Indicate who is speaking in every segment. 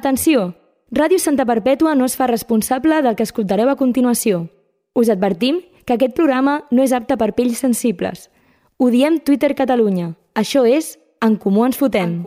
Speaker 1: Atenció! Ràdio Santa Perpètua no es fa responsable del que escoltareu a continuació. Us advertim que aquest programa no és apte per pells sensibles. Ho diem Twitter Catalunya. Això és En Comú Ens Fotem.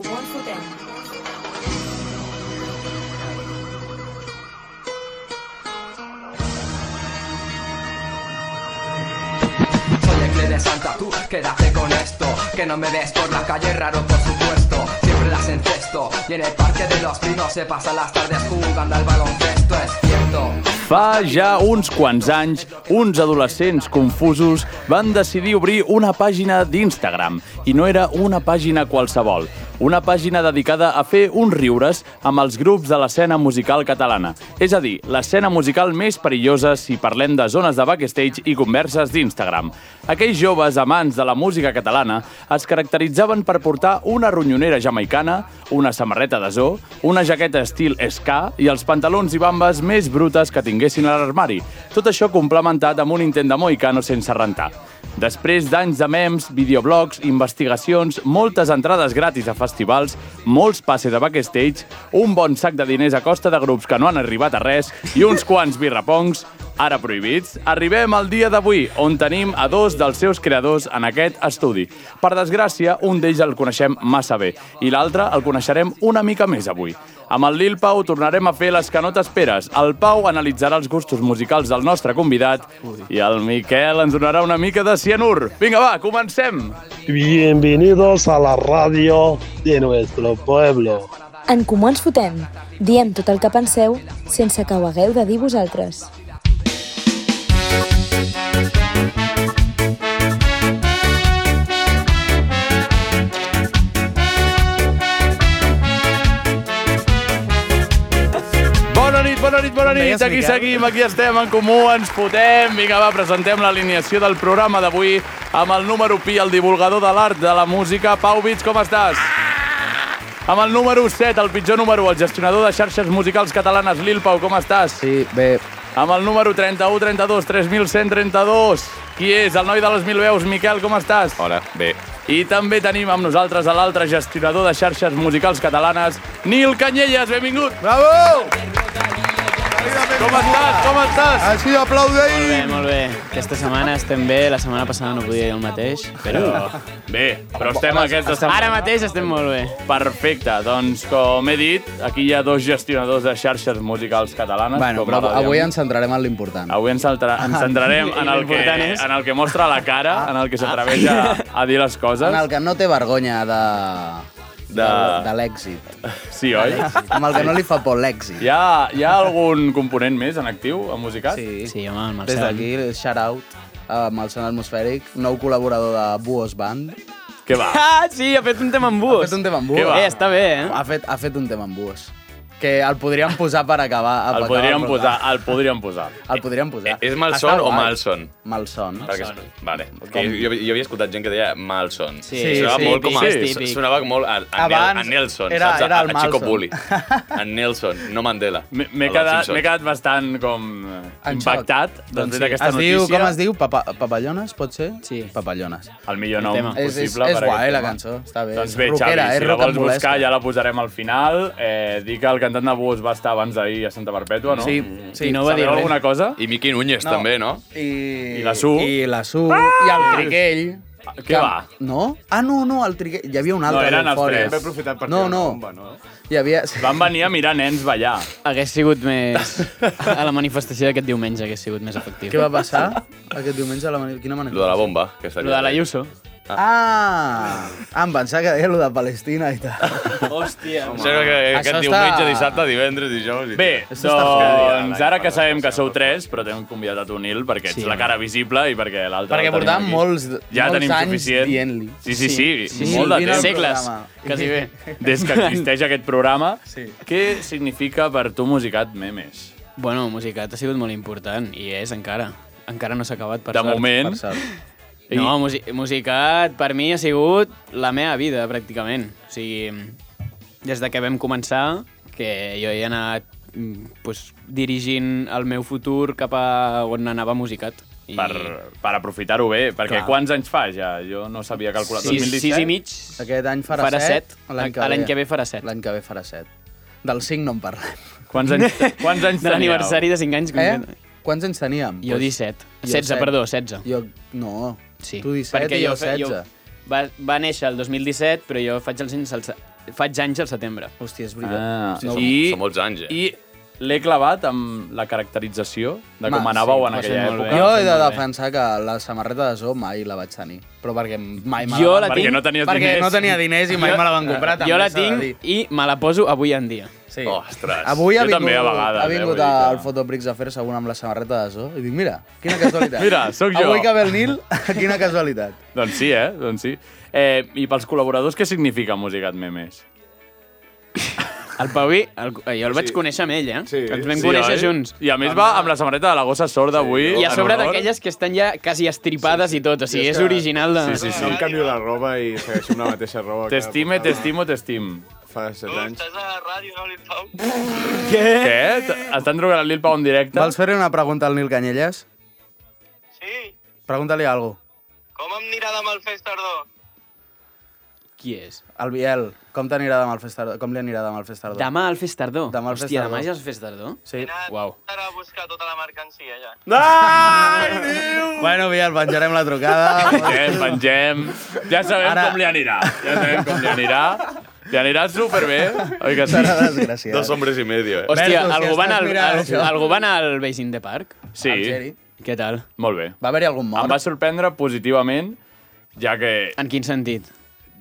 Speaker 2: Soy el Cle de Santa, tú quédate con esto Que no me ves por la calle, raro por supuesto Siempre las encesto Y en el parque de los pinos se pasan las tardes jugando al baloncesto Es cierto,
Speaker 3: Fa ja uns quants anys, uns adolescents confusos van decidir obrir una pàgina d'Instagram. I no era una pàgina qualsevol. Una pàgina dedicada a fer uns riures amb els grups de l'escena musical catalana. És a dir, l'escena musical més perillosa si parlem de zones de backstage i converses d'Instagram. Aquells joves amants de la música catalana es caracteritzaven per portar una ronyonera jamaicana, una samarreta de zoo, una jaqueta estil ska i els pantalons i bambes més brutes que tinguessin a l'armari. Tot això complementat amb un intent de moicano sense rentar. Després d'anys de memes, videoblogs, investigacions, moltes entrades gratis a festivals, molts passes a backstage, un bon sac de diners a costa de grups que no han arribat a res i uns quants birrapongs, ara prohibits, arribem al dia d'avui, on tenim a dos dels seus creadors en aquest estudi. Per desgràcia, un d'ells el coneixem massa bé i l'altre el coneixerem una mica més avui. Amb el Lil Pau tornarem a fer les que no t'esperes. El Pau analitzarà els gustos musicals del nostre convidat i el Miquel ens donarà una mica de cianur. Vinga, va, comencem!
Speaker 4: Bienvenidos a la radio de nuestro pueblo.
Speaker 1: En Comú Ens Fotem. Diem tot el que penseu sense que ho hagueu de dir vosaltres.
Speaker 3: Bona nit, bona nit, bona nit.
Speaker 5: deies,
Speaker 3: Aquí
Speaker 5: Miquel?
Speaker 3: seguim, aquí estem en comú, ens fotem. Vinga, va, presentem l'alineació del programa d'avui amb el número pi, el divulgador de l'art de la música. Pau Vits, com estàs? Amb el número 7, el pitjor número, el gestionador de xarxes musicals catalanes, Lil Pau, com estàs?
Speaker 5: Sí, bé,
Speaker 3: Amb el número 31, 32, 3132, qui és? El noi de les mil veus, Miquel, com estàs?
Speaker 6: Hola, bé.
Speaker 3: I també tenim amb nosaltres a l'altre gestionador de xarxes musicals catalanes, Nil Canyelles, benvingut!
Speaker 7: ¡Bravo!
Speaker 3: Com estàs? Com estàs?
Speaker 5: Ah,
Speaker 7: Ha sido aplaudir.
Speaker 8: Bé, molt bé. Aquesta setmana estem bé, la setmana passada no podia dir el mateix, però...
Speaker 3: Bé, però estem aquesta
Speaker 8: Ara
Speaker 3: setmana.
Speaker 8: mateix estem molt bé.
Speaker 3: Perfecte, doncs com he dit, aquí hi ha dos gestionadors de xarxes musicals catalanes.
Speaker 5: bueno,
Speaker 3: com
Speaker 5: però
Speaker 3: ara
Speaker 5: avui
Speaker 3: diem.
Speaker 5: ens Ah, centrarem en l'important.
Speaker 3: Avui ens, centra, ens centrarem en el, que,
Speaker 8: L'important és-
Speaker 3: en el que mostra la cara, en el que s'atreveix a, a dir les coses.
Speaker 5: Ah, En el que no té vergonya de...
Speaker 3: De-
Speaker 5: de, de l'èxit.
Speaker 3: Sí, oi?
Speaker 5: Amb el que no li fa por l'èxit.
Speaker 3: Hi ha, hi ha algun component més en actiu, en musicat?
Speaker 8: Sí, home, el
Speaker 5: Des
Speaker 8: Marcel.
Speaker 5: d'aquí, shout out eh, amb el Sant Atmosfèric, nou col·laborador de Buos Band.
Speaker 3: Què va?
Speaker 8: Ah, sí, ha fet un tema amb
Speaker 5: Ha
Speaker 8: bus.
Speaker 5: fet un tema amb
Speaker 3: Què
Speaker 5: Buos.
Speaker 3: va?
Speaker 8: Eh, està bé, eh?
Speaker 5: Ha fet, ha fet un tema amb Buos. Que el podríem posar per acabar. per
Speaker 3: El
Speaker 5: acabar
Speaker 3: podríem posar,
Speaker 5: programa.
Speaker 3: el podríem posar.
Speaker 5: El podríem posar.
Speaker 6: Eh, És mal
Speaker 5: Està
Speaker 6: son o
Speaker 5: guai.
Speaker 6: mal son?
Speaker 5: Malson.
Speaker 6: Perquè, vale. Perquè jo, jo havia escoltat gent que deia mal son.
Speaker 8: Sí,
Speaker 6: sonava
Speaker 5: sí,
Speaker 6: molt com a,
Speaker 3: típic,
Speaker 8: típic.
Speaker 6: Sonava molt a, a, Nel, a
Speaker 5: Abans
Speaker 6: Nelson,
Speaker 5: era-
Speaker 6: saps? A-
Speaker 5: era el
Speaker 6: a, Chico
Speaker 5: Malson.
Speaker 6: Bully. A Nelson, no Mandela.
Speaker 3: M'he m'he
Speaker 6: A Los
Speaker 3: quedat,
Speaker 6: Simpsons.
Speaker 3: m'he quedat bastant com eh,
Speaker 5: En xoc. Doncs
Speaker 3: impactat després d'aquesta
Speaker 5: es diu,
Speaker 3: notícia.
Speaker 5: Com es diu? Papa, papallones, pot ser?
Speaker 8: Sí.
Speaker 5: Papallones.
Speaker 3: El millor nom
Speaker 8: tema.
Speaker 5: És, és,
Speaker 3: possible.
Speaker 5: és
Speaker 3: per a
Speaker 5: guai,
Speaker 3: aquest
Speaker 5: la
Speaker 3: tema.
Speaker 5: cançó. Està bé.
Speaker 3: Doncs
Speaker 5: és
Speaker 3: bé,
Speaker 5: rockera,
Speaker 3: Xavi,
Speaker 5: és
Speaker 3: si la vols
Speaker 5: rocambolesca.
Speaker 3: buscar ja la posarem al final. Eh, dir que el cantant de Bus va estar abans d'ahir a Santa Perpètua, no? Mm.
Speaker 5: Sí,
Speaker 8: I
Speaker 5: sí.
Speaker 8: no va dir
Speaker 3: Sabeu
Speaker 8: res.
Speaker 3: alguna cosa?
Speaker 6: I Miqui Núñez,
Speaker 5: No.
Speaker 6: també, no?
Speaker 5: I, I
Speaker 3: la Su.
Speaker 5: I la Su. I el Triquell.
Speaker 3: Què va?
Speaker 5: No? Ah, no, no, el Triquell. Hi havia un altre.
Speaker 3: eren els
Speaker 5: d'Eufòria.
Speaker 3: tres. Vam
Speaker 7: aprofitar per
Speaker 5: no,
Speaker 7: tirar
Speaker 5: no.
Speaker 7: la bomba, no?
Speaker 5: Hi havia... Sí.
Speaker 3: Van venir a mirar nens ballar.
Speaker 8: Hagués sigut més... A la manifestació d'aquest diumenge hagués sigut més efectiu.
Speaker 5: Què va passar aquest diumenge? A la mani... Quina manera?
Speaker 6: Lo de la bomba. Que
Speaker 8: Lo de la Yuso.
Speaker 5: Ah! Ah, em pensava que deia lo de Palestina i tal.
Speaker 8: Hòstia.
Speaker 6: Això que, que
Speaker 5: Això
Speaker 6: aquest
Speaker 5: està-
Speaker 6: diumenge, dissabte, divendres, dijous... i-
Speaker 3: Bé,
Speaker 5: Això està fent
Speaker 3: doncs ara que sabem que sou tres, però t'hem convidat a tu, Nil, perquè ets
Speaker 8: Sí,
Speaker 3: la
Speaker 8: home.
Speaker 3: cara visible i perquè l'altra la
Speaker 5: Perquè
Speaker 3: tenim
Speaker 5: portàvem
Speaker 3: aquí.
Speaker 5: molts,
Speaker 3: ja
Speaker 5: molts
Speaker 3: tenim
Speaker 5: anys
Speaker 3: suficient.
Speaker 5: dient-li.
Speaker 3: Sí, sí, sí, sí,
Speaker 5: sí,
Speaker 3: molt de
Speaker 5: vine al
Speaker 3: temps.
Speaker 8: Segles,
Speaker 5: programa.
Speaker 8: quasi bé.
Speaker 3: Des que existeix aquest programa, sí.
Speaker 5: Sí.
Speaker 3: què significa per tu musicat memes?
Speaker 8: Bueno, Musicat ha sigut molt important, i és encara. Encara no s'ha acabat, per
Speaker 3: De
Speaker 8: sort.
Speaker 3: moment,
Speaker 5: Per sort.
Speaker 8: No, musi Musicat per mi ha sigut la meva vida, pràcticament. O sigui, des de que vam començar, que jo he anat mm, pues, dirigint el meu futur cap a on anava Musicat. I
Speaker 3: per, per aprofitar-ho bé, perquè
Speaker 8: Clar.
Speaker 3: quants anys fa ja? Jo no sabia calcular.
Speaker 8: Sis,
Speaker 3: 2017?
Speaker 8: sis i mig.
Speaker 5: Aquest any farà,
Speaker 8: Farà set.
Speaker 5: set,
Speaker 8: L'any que ve farà set.
Speaker 5: L'any que ve farà set. Del 5 no en parlem.
Speaker 3: Quants anys, quants anys
Speaker 8: de l'aniversari de 5 anys.
Speaker 5: Eh?
Speaker 8: concret.
Speaker 5: Quants anys teníem? Doncs
Speaker 8: Jo
Speaker 5: Pues-
Speaker 8: 17.
Speaker 5: Jo
Speaker 8: 16,
Speaker 5: set.
Speaker 8: perdó, 16.
Speaker 5: Jo, no.
Speaker 8: Sí.
Speaker 5: Tu 17
Speaker 8: perquè
Speaker 5: i jo
Speaker 8: fe-
Speaker 5: 16.
Speaker 8: va, va néixer el 2017, però jo faig, els anys al, se- faig anys al setembre.
Speaker 5: Hòstia, és veritat.
Speaker 3: Ah,
Speaker 5: No,
Speaker 3: i,
Speaker 6: són molts anys, eh?
Speaker 3: I l'he clavat amb la caracterització de com
Speaker 5: Ma,
Speaker 3: anàveu
Speaker 5: sí,
Speaker 3: en
Speaker 8: va ser
Speaker 3: aquella
Speaker 8: molt
Speaker 3: època.
Speaker 8: bé.
Speaker 5: Jo he de
Speaker 8: Molt bé.
Speaker 5: defensar que la samarreta de Zoo mai la vaig tenir. Però perquè mai me
Speaker 8: Jo
Speaker 5: la,
Speaker 8: la
Speaker 5: van-
Speaker 3: Perquè
Speaker 8: tinc-
Speaker 3: no tenies
Speaker 5: perquè
Speaker 3: diners.
Speaker 5: no tenia diners i mai me la van comprar. també
Speaker 8: jo la
Speaker 5: s'ha de dir.
Speaker 8: tinc i me la poso avui en dia.
Speaker 5: Sí.
Speaker 6: Ostres,
Speaker 5: Avui ha
Speaker 6: jo
Speaker 5: vingut,
Speaker 6: també a vegades,
Speaker 5: ha
Speaker 6: eh,
Speaker 5: vingut
Speaker 6: vull dir que-
Speaker 5: al Fotoprix a fer-se una amb la samarreta de Zoo i dic, mira, quina casualitat.
Speaker 3: Mira, sóc jo.
Speaker 5: Avui que ve el Nil, quina casualitat.
Speaker 3: Doncs sí, eh? Doncs sí. Eh, I pels col·laboradors, què significa Musicat Memes?
Speaker 8: El Paui, el, eh, jo el vaig conèixer amb ell, eh? Sí. Ens vam conèixer
Speaker 3: oi?
Speaker 8: junts.
Speaker 3: I a més va amb la samarreta de la gossa sorda avui.
Speaker 8: I a
Speaker 3: en
Speaker 8: sobre
Speaker 3: honor.
Speaker 8: d'aquelles que estan ja quasi estripades i tot, o sigui, és original de...
Speaker 3: Sí, sí, sí.
Speaker 9: Ah, No em canvio la roba i segueixo amb la mateixa roba. que
Speaker 3: T'estime,
Speaker 9: portava
Speaker 3: t'estimo, t'estim.
Speaker 9: Fa set anys.
Speaker 10: Estàs a la ràdio, no, Lipau?
Speaker 3: Què? Què? Estan trucant al Lil Pau en directe?
Speaker 5: Vols fer una pregunta al Nil Canyelles?
Speaker 10: Sí?
Speaker 5: Pregunta-li alguna cosa.
Speaker 10: Com em anirà demà el Fest Tardor?
Speaker 8: Qui és?
Speaker 5: Al Biel, com t'anirà demà al Festardó? Com li anirà demà al Festardó?
Speaker 8: Demà al Fes Tardor.
Speaker 5: Demà al Fes
Speaker 8: Hòstia,
Speaker 5: Tardor.
Speaker 8: demà ja és el Fes Tardor?
Speaker 5: Sí.
Speaker 8: Uau.
Speaker 10: Ara a buscar tota la mercancia, ja.
Speaker 5: Bueno, Biel, penjarem la trucada.
Speaker 3: Pengem, pengem. Ja sabem
Speaker 5: Ara-
Speaker 3: com li anirà. Ja sabem com li anirà. Li anirà superbé. Oi que sí?
Speaker 5: Serà
Speaker 6: Dos
Speaker 5: desgraciat.
Speaker 6: hombres i medio, eh?
Speaker 8: Hòstia,
Speaker 5: Versus,
Speaker 8: algú
Speaker 5: si
Speaker 8: va, anar
Speaker 5: estàs
Speaker 8: al,
Speaker 5: mirant
Speaker 8: al,
Speaker 5: això.
Speaker 8: algú va anar al Basin de Park?
Speaker 3: Sí,
Speaker 8: Què tal?
Speaker 3: molt bé.
Speaker 5: Va haver-hi algun
Speaker 3: Em va
Speaker 5: mort?
Speaker 3: sorprendre positivament, ja que,
Speaker 8: En quin sentit?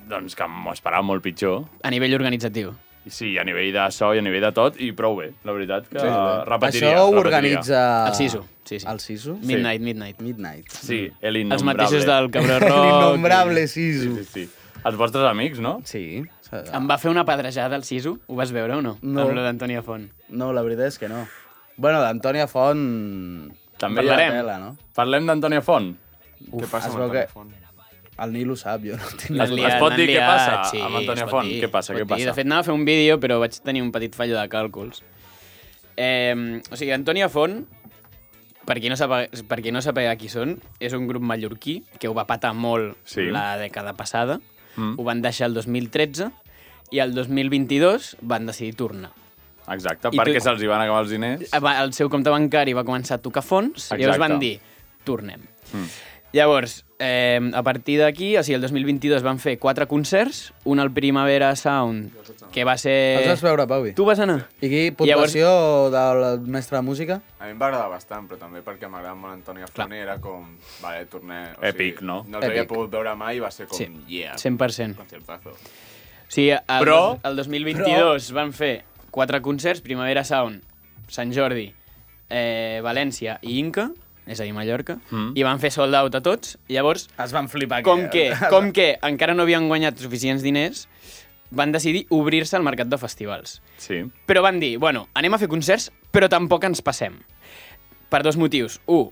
Speaker 3: doncs, que m'ho esperava molt pitjor.
Speaker 8: A nivell organitzatiu.
Speaker 3: I sí, a nivell de so i a nivell de tot, i prou bé, la veritat, que Ah, repetiria.
Speaker 5: Això ho
Speaker 3: repetiria.
Speaker 5: organitza...
Speaker 8: El Siso, sí, sí.
Speaker 5: El Siso?
Speaker 8: Midnight, Midnight.
Speaker 5: Midnight.
Speaker 3: Sí, el
Speaker 8: Els
Speaker 3: innombrable.
Speaker 8: mateixos del Cabró Rock.
Speaker 5: L'innombrable
Speaker 3: Sí,
Speaker 5: Siso.
Speaker 3: sí, sí. Els vostres amics, no?
Speaker 5: Sí.
Speaker 8: Em va fer una pedrejada al Siso, ho vas veure o no?
Speaker 5: No.
Speaker 8: Amb lo d'Antònia Font.
Speaker 5: No, la veritat és que no. Bueno, d'Antònia Font...
Speaker 3: També
Speaker 5: la
Speaker 3: parlarem.
Speaker 5: Tela, no?
Speaker 3: Parlem d'Antònia Font.
Speaker 9: Què passa
Speaker 5: es
Speaker 9: amb
Speaker 5: veu
Speaker 9: el
Speaker 5: que-
Speaker 9: telèfon?
Speaker 5: El Nil ho sap, jo no tinc
Speaker 8: L'han
Speaker 3: Es- es
Speaker 8: liat,
Speaker 3: pot
Speaker 8: l'han
Speaker 3: dir què
Speaker 8: liat,
Speaker 3: passa
Speaker 8: sí,
Speaker 3: amb Antònia
Speaker 8: es pot
Speaker 3: Font?
Speaker 8: dir,
Speaker 3: Què passa,
Speaker 8: es pot
Speaker 3: què passa?
Speaker 8: dir. De fet, anava a fer un vídeo, però vaig tenir un petit fallo de càlculs. Eh, o sigui, Antònia Font, per qui, no sàpiga, per qui no sàpiga qui són, és un grup mallorquí que ho va patar molt
Speaker 3: Sí.
Speaker 8: la dècada passada. Mm. Ho van deixar el 2013 i el 2022 van decidir tornar.
Speaker 3: Exacte,
Speaker 8: I
Speaker 3: perquè
Speaker 8: tu- Ah,
Speaker 3: se'ls hi van acabar els diners.
Speaker 8: Eh, va, el seu compte bancari va començar a tocar fons i llavors
Speaker 3: Exacte.
Speaker 8: van dir, tornem. Mm. Llavors, eh, a partir d'aquí, o sigui, el 2022 van fer quatre concerts, un al Primavera Sound, que va
Speaker 5: Els
Speaker 8: ser...
Speaker 5: vas veure, Pauvi?
Speaker 8: Tu vas anar?
Speaker 5: I aquí, puntuació del mestre de música?
Speaker 9: A mi em va agradar bastant, però també perquè m'agrada molt Antònia Font i era com... Vale, tornem...
Speaker 3: Èpic, no?
Speaker 9: No els havia
Speaker 5: Èpic.
Speaker 9: pogut veure mai i va ser com...
Speaker 8: Sí,
Speaker 9: Yeah,
Speaker 8: 100%.
Speaker 9: concertazo.
Speaker 8: O sigui, el,
Speaker 3: Però-
Speaker 8: el 2022 però... van fer quatre concerts, Primavera Sound, Sant Jordi, eh, València i Inca, és a dir, Mallorca, mm. i van fer sold out a tots. Llavors,
Speaker 5: Es van flipar.
Speaker 8: com que, com que encara no havien guanyat suficients diners, van decidir obrir-se al mercat de festivals.
Speaker 3: Sí.
Speaker 8: Però van dir, bueno, anem a fer concerts, però tampoc ens passem. Per dos motius. Un,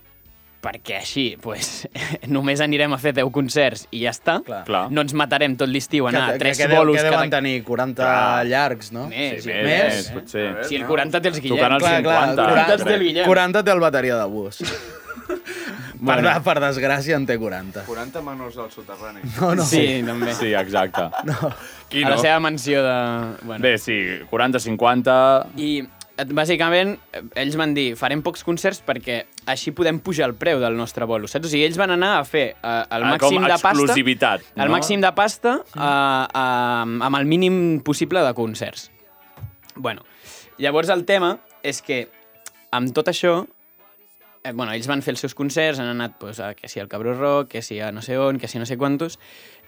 Speaker 8: perquè així pues, només anirem a fer 10 concerts i ja està.
Speaker 5: Clar.
Speaker 3: Clar.
Speaker 8: No ens matarem tot l'estiu a anar a
Speaker 5: que,
Speaker 8: tres
Speaker 5: que, deu-
Speaker 8: bolos
Speaker 5: que deuen
Speaker 8: cada...
Speaker 5: tenir 40
Speaker 3: Clar.
Speaker 5: llargs, no?
Speaker 8: Més, sí,
Speaker 3: Més,
Speaker 8: més.
Speaker 3: més,
Speaker 5: eh?
Speaker 3: potser.
Speaker 9: A veure.
Speaker 8: Si el 40 té els Guillem.
Speaker 3: Tocant el
Speaker 5: Clar, clar,
Speaker 3: 50.
Speaker 5: 40
Speaker 8: és del Guillem.
Speaker 5: 40 té el bateria de bus. bueno. per, per desgràcia en té 40.
Speaker 9: 40 menors al soterrani.
Speaker 5: No, no.
Speaker 8: Sí, també.
Speaker 3: Sí, exacte. No. Qui
Speaker 8: A
Speaker 3: no?
Speaker 8: la seva mansió de... Bueno.
Speaker 3: Bé, sí, 40, 50...
Speaker 8: I, et- bàsicament, eh, ells van dir, farem pocs concerts perquè així podem pujar el preu del nostre bolo, saps? O sigui, ells van anar a fer eh, el
Speaker 3: Ah, com
Speaker 8: màxim de pasta...
Speaker 3: exclusivitat,
Speaker 8: El
Speaker 3: no?
Speaker 8: màxim de pasta eh, eh, amb el mínim possible de concerts. Bueno, llavors el tema és que amb tot això, eh, bueno, ells van fer els seus concerts, han anat pues, a que si al Cabró Rock, que si a no sé on, que si no sé quantos...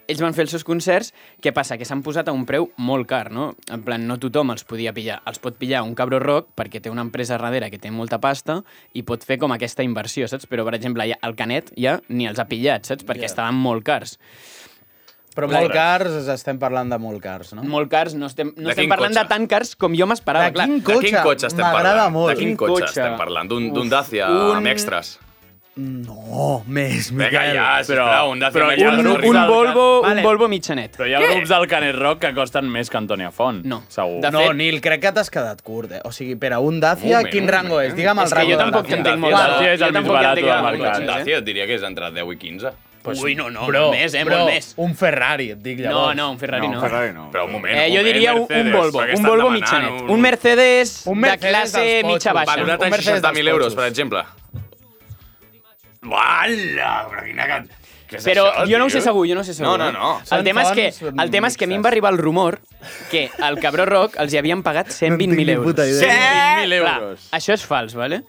Speaker 8: Ells van fer els seus concerts, què passa? Que s'han posat a un preu molt car, no? En plan, no tothom els podia pillar. Els pot pillar un Cabró Rock perquè té una empresa darrere que té molta pasta i pot fer com aquesta inversió, saps? Però, per exemple, ja el Canet ja ni els ha pillat, saps? Perquè
Speaker 5: Ja.
Speaker 8: estaven molt cars.
Speaker 5: Però molt cars, estem parlant de molt cars, no?
Speaker 8: Molt cars, no estem, no
Speaker 6: De
Speaker 8: estem
Speaker 6: quin
Speaker 8: parlant
Speaker 6: cotxe?
Speaker 8: de tan cars com jo m'esperava.
Speaker 5: De
Speaker 8: clar.
Speaker 5: quin
Speaker 6: De quin cotxe estem
Speaker 5: M'agrada
Speaker 6: parlant?
Speaker 5: molt.
Speaker 6: De quin
Speaker 8: Quin
Speaker 6: cotxe
Speaker 8: cotxe?
Speaker 6: estem parlant? D'un d'un
Speaker 8: Uf,
Speaker 6: Dacia
Speaker 8: un-
Speaker 6: amb extras.
Speaker 5: Oh, més,
Speaker 6: Vinga,
Speaker 5: Miquel.
Speaker 6: ja,
Speaker 3: però-
Speaker 6: sisplau, un Dacia
Speaker 3: però
Speaker 6: amb
Speaker 3: un-
Speaker 6: extras. no
Speaker 8: un,
Speaker 6: arriba.
Speaker 8: un, Volvo,
Speaker 5: Vale.
Speaker 8: vale. un Volvo mitjanet.
Speaker 3: Però hi ha grups del Canet Rock que costen més que Antònia Font.
Speaker 8: No.
Speaker 3: Segur.
Speaker 8: De
Speaker 5: no,
Speaker 8: fet-
Speaker 5: Nil, crec que t'has quedat curt, eh? O sigui, per a un Dacia,
Speaker 6: Un moment,
Speaker 5: quin
Speaker 6: un
Speaker 5: rango
Speaker 6: moment.
Speaker 5: és? Digue'm el
Speaker 8: És que
Speaker 5: rango
Speaker 8: jo
Speaker 5: de
Speaker 8: tampoc
Speaker 5: Dacia.
Speaker 8: entenc molt.
Speaker 3: Dacia
Speaker 8: de-
Speaker 3: és el
Speaker 8: jo
Speaker 3: més
Speaker 8: tampoc
Speaker 3: barat
Speaker 8: entenc
Speaker 3: del
Speaker 8: molt de
Speaker 3: mercat.
Speaker 8: cotxes, eh?
Speaker 6: Dacia et diria que és entre 10 i 15.
Speaker 5: Pues,
Speaker 8: Ui, no, no, molt més, eh, molt més.
Speaker 5: Un Ferrari, et dic
Speaker 8: No,
Speaker 5: llavors.
Speaker 8: no, un Ferrari no.
Speaker 6: No, un Ferrari no.
Speaker 11: Però un moment,
Speaker 8: Eh,
Speaker 11: un
Speaker 8: jo
Speaker 11: moment,
Speaker 8: diria un, un
Speaker 11: Mercedes,
Speaker 8: Volvo,
Speaker 11: perquè
Speaker 8: un
Speaker 11: estan
Speaker 8: Volvo
Speaker 11: demanant
Speaker 8: mitjanet.
Speaker 11: un-
Speaker 8: Un Mercedes,
Speaker 5: Un
Speaker 8: de
Speaker 5: Mercedes dels
Speaker 8: classe
Speaker 5: potxos.
Speaker 8: mitja baixa.
Speaker 5: Valorat
Speaker 11: Valorat
Speaker 5: Un
Speaker 11: en
Speaker 5: Mercedes
Speaker 11: 60.000
Speaker 5: dels
Speaker 11: euros,
Speaker 5: cotxes.
Speaker 11: per exemple. Uala, però quina... can- Què és
Speaker 8: Però
Speaker 11: això,
Speaker 8: jo no ho sé
Speaker 11: tio?
Speaker 8: segur, jo no ho sé segur. eh?
Speaker 11: No, no, no.
Speaker 8: El
Speaker 5: Són
Speaker 8: tema, és que,
Speaker 5: fonts
Speaker 8: el tema és que a mi em va arribar el rumor que al Cabró Rock els hi havien pagat 120.000
Speaker 5: ni
Speaker 8: euros.
Speaker 5: puta idea.
Speaker 8: 120.000
Speaker 6: euros.
Speaker 8: això és fals, vale?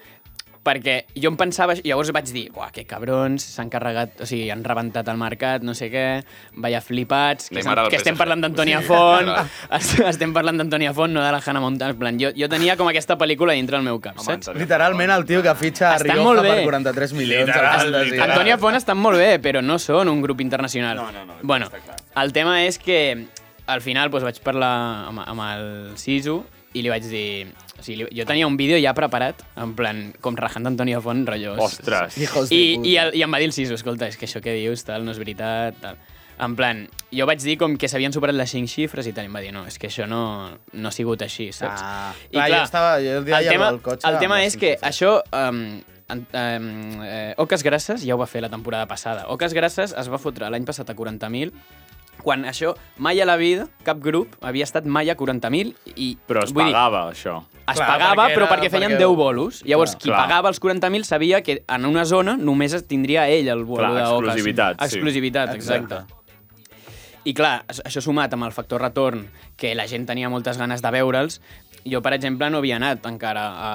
Speaker 8: Perquè jo em pensava... Llavors vaig dir, buah, que cabrons, s'han carregat... O sigui, han rebentat el mercat, no sé què, vaya flipats, que,
Speaker 11: Neymar
Speaker 8: s'han-
Speaker 11: al
Speaker 8: que
Speaker 6: eh?"
Speaker 8: estem
Speaker 11: PSG.
Speaker 8: parlant d'Antonia
Speaker 11: Sí,
Speaker 8: Font,
Speaker 11: clar.
Speaker 8: est- estem parlant d'Antonia Font, no de la Hannah Montana. En plan, jo, jo tenia com aquesta pel·lícula dintre del meu cap,
Speaker 6: Home,
Speaker 8: saps?
Speaker 6: Antonio,
Speaker 5: Literalment el tio que fitxa a
Speaker 8: Estan
Speaker 5: Rioja
Speaker 8: molt
Speaker 5: per
Speaker 8: bé.
Speaker 5: 43 milions.
Speaker 11: Literal,
Speaker 5: al Fantasy.
Speaker 11: literal.
Speaker 8: Antonia Font estan molt bé, però no són un grup internacional.
Speaker 6: No, no, no,
Speaker 8: Bueno,
Speaker 6: està clar.
Speaker 8: el tema és que al final doncs, vaig parlar amb, amb el Sisu i li vaig dir... O sigui, li- jo tenia un vídeo ja preparat, en plan, com rajant Antonia Font, rotllo...
Speaker 11: Ostres.
Speaker 5: Hijos de
Speaker 8: I,
Speaker 5: puta. Ah.
Speaker 8: i, el, I em va dir el Sisu, escolta, és que això que dius, tal, no és veritat, tal. En plan, jo vaig dir com que s'havien superat les cinc xifres i tal, i em va dir, no, és que això no, no ha sigut així, saps?
Speaker 5: Ah. Clar, jo estava- jo el dia
Speaker 8: el
Speaker 5: ja
Speaker 8: tema,
Speaker 5: al cotxe
Speaker 8: el tema
Speaker 5: amb les
Speaker 8: és
Speaker 5: cinc
Speaker 8: que
Speaker 5: xifres.
Speaker 8: això... Um, en, um, eh, Oques Grasses ja ho va fer la temporada passada. Oques Grasses es va fotre l'any passat a 40.000 quan això mai a la vida, cap grup, havia estat mai a 40.000 i...
Speaker 3: Però es
Speaker 8: vull dir,
Speaker 3: pagava, això.
Speaker 8: es
Speaker 5: Clar,
Speaker 8: pagava,
Speaker 5: perquè
Speaker 8: però
Speaker 5: era-
Speaker 8: perquè feien
Speaker 5: perquè-
Speaker 8: 10 bolos. Llavors,
Speaker 5: Clar.
Speaker 8: qui
Speaker 3: Clar.
Speaker 8: pagava els 40.000 sabia que en una zona només es tindria ell el bolo
Speaker 3: Clar,
Speaker 8: de Ocas.
Speaker 3: exclusivitat, sí.
Speaker 8: Exclusivitat, exacte. I clar, a- això sumat amb el factor retorn, que la gent tenia moltes ganes de veure'ls, jo, per exemple, no havia anat encara a,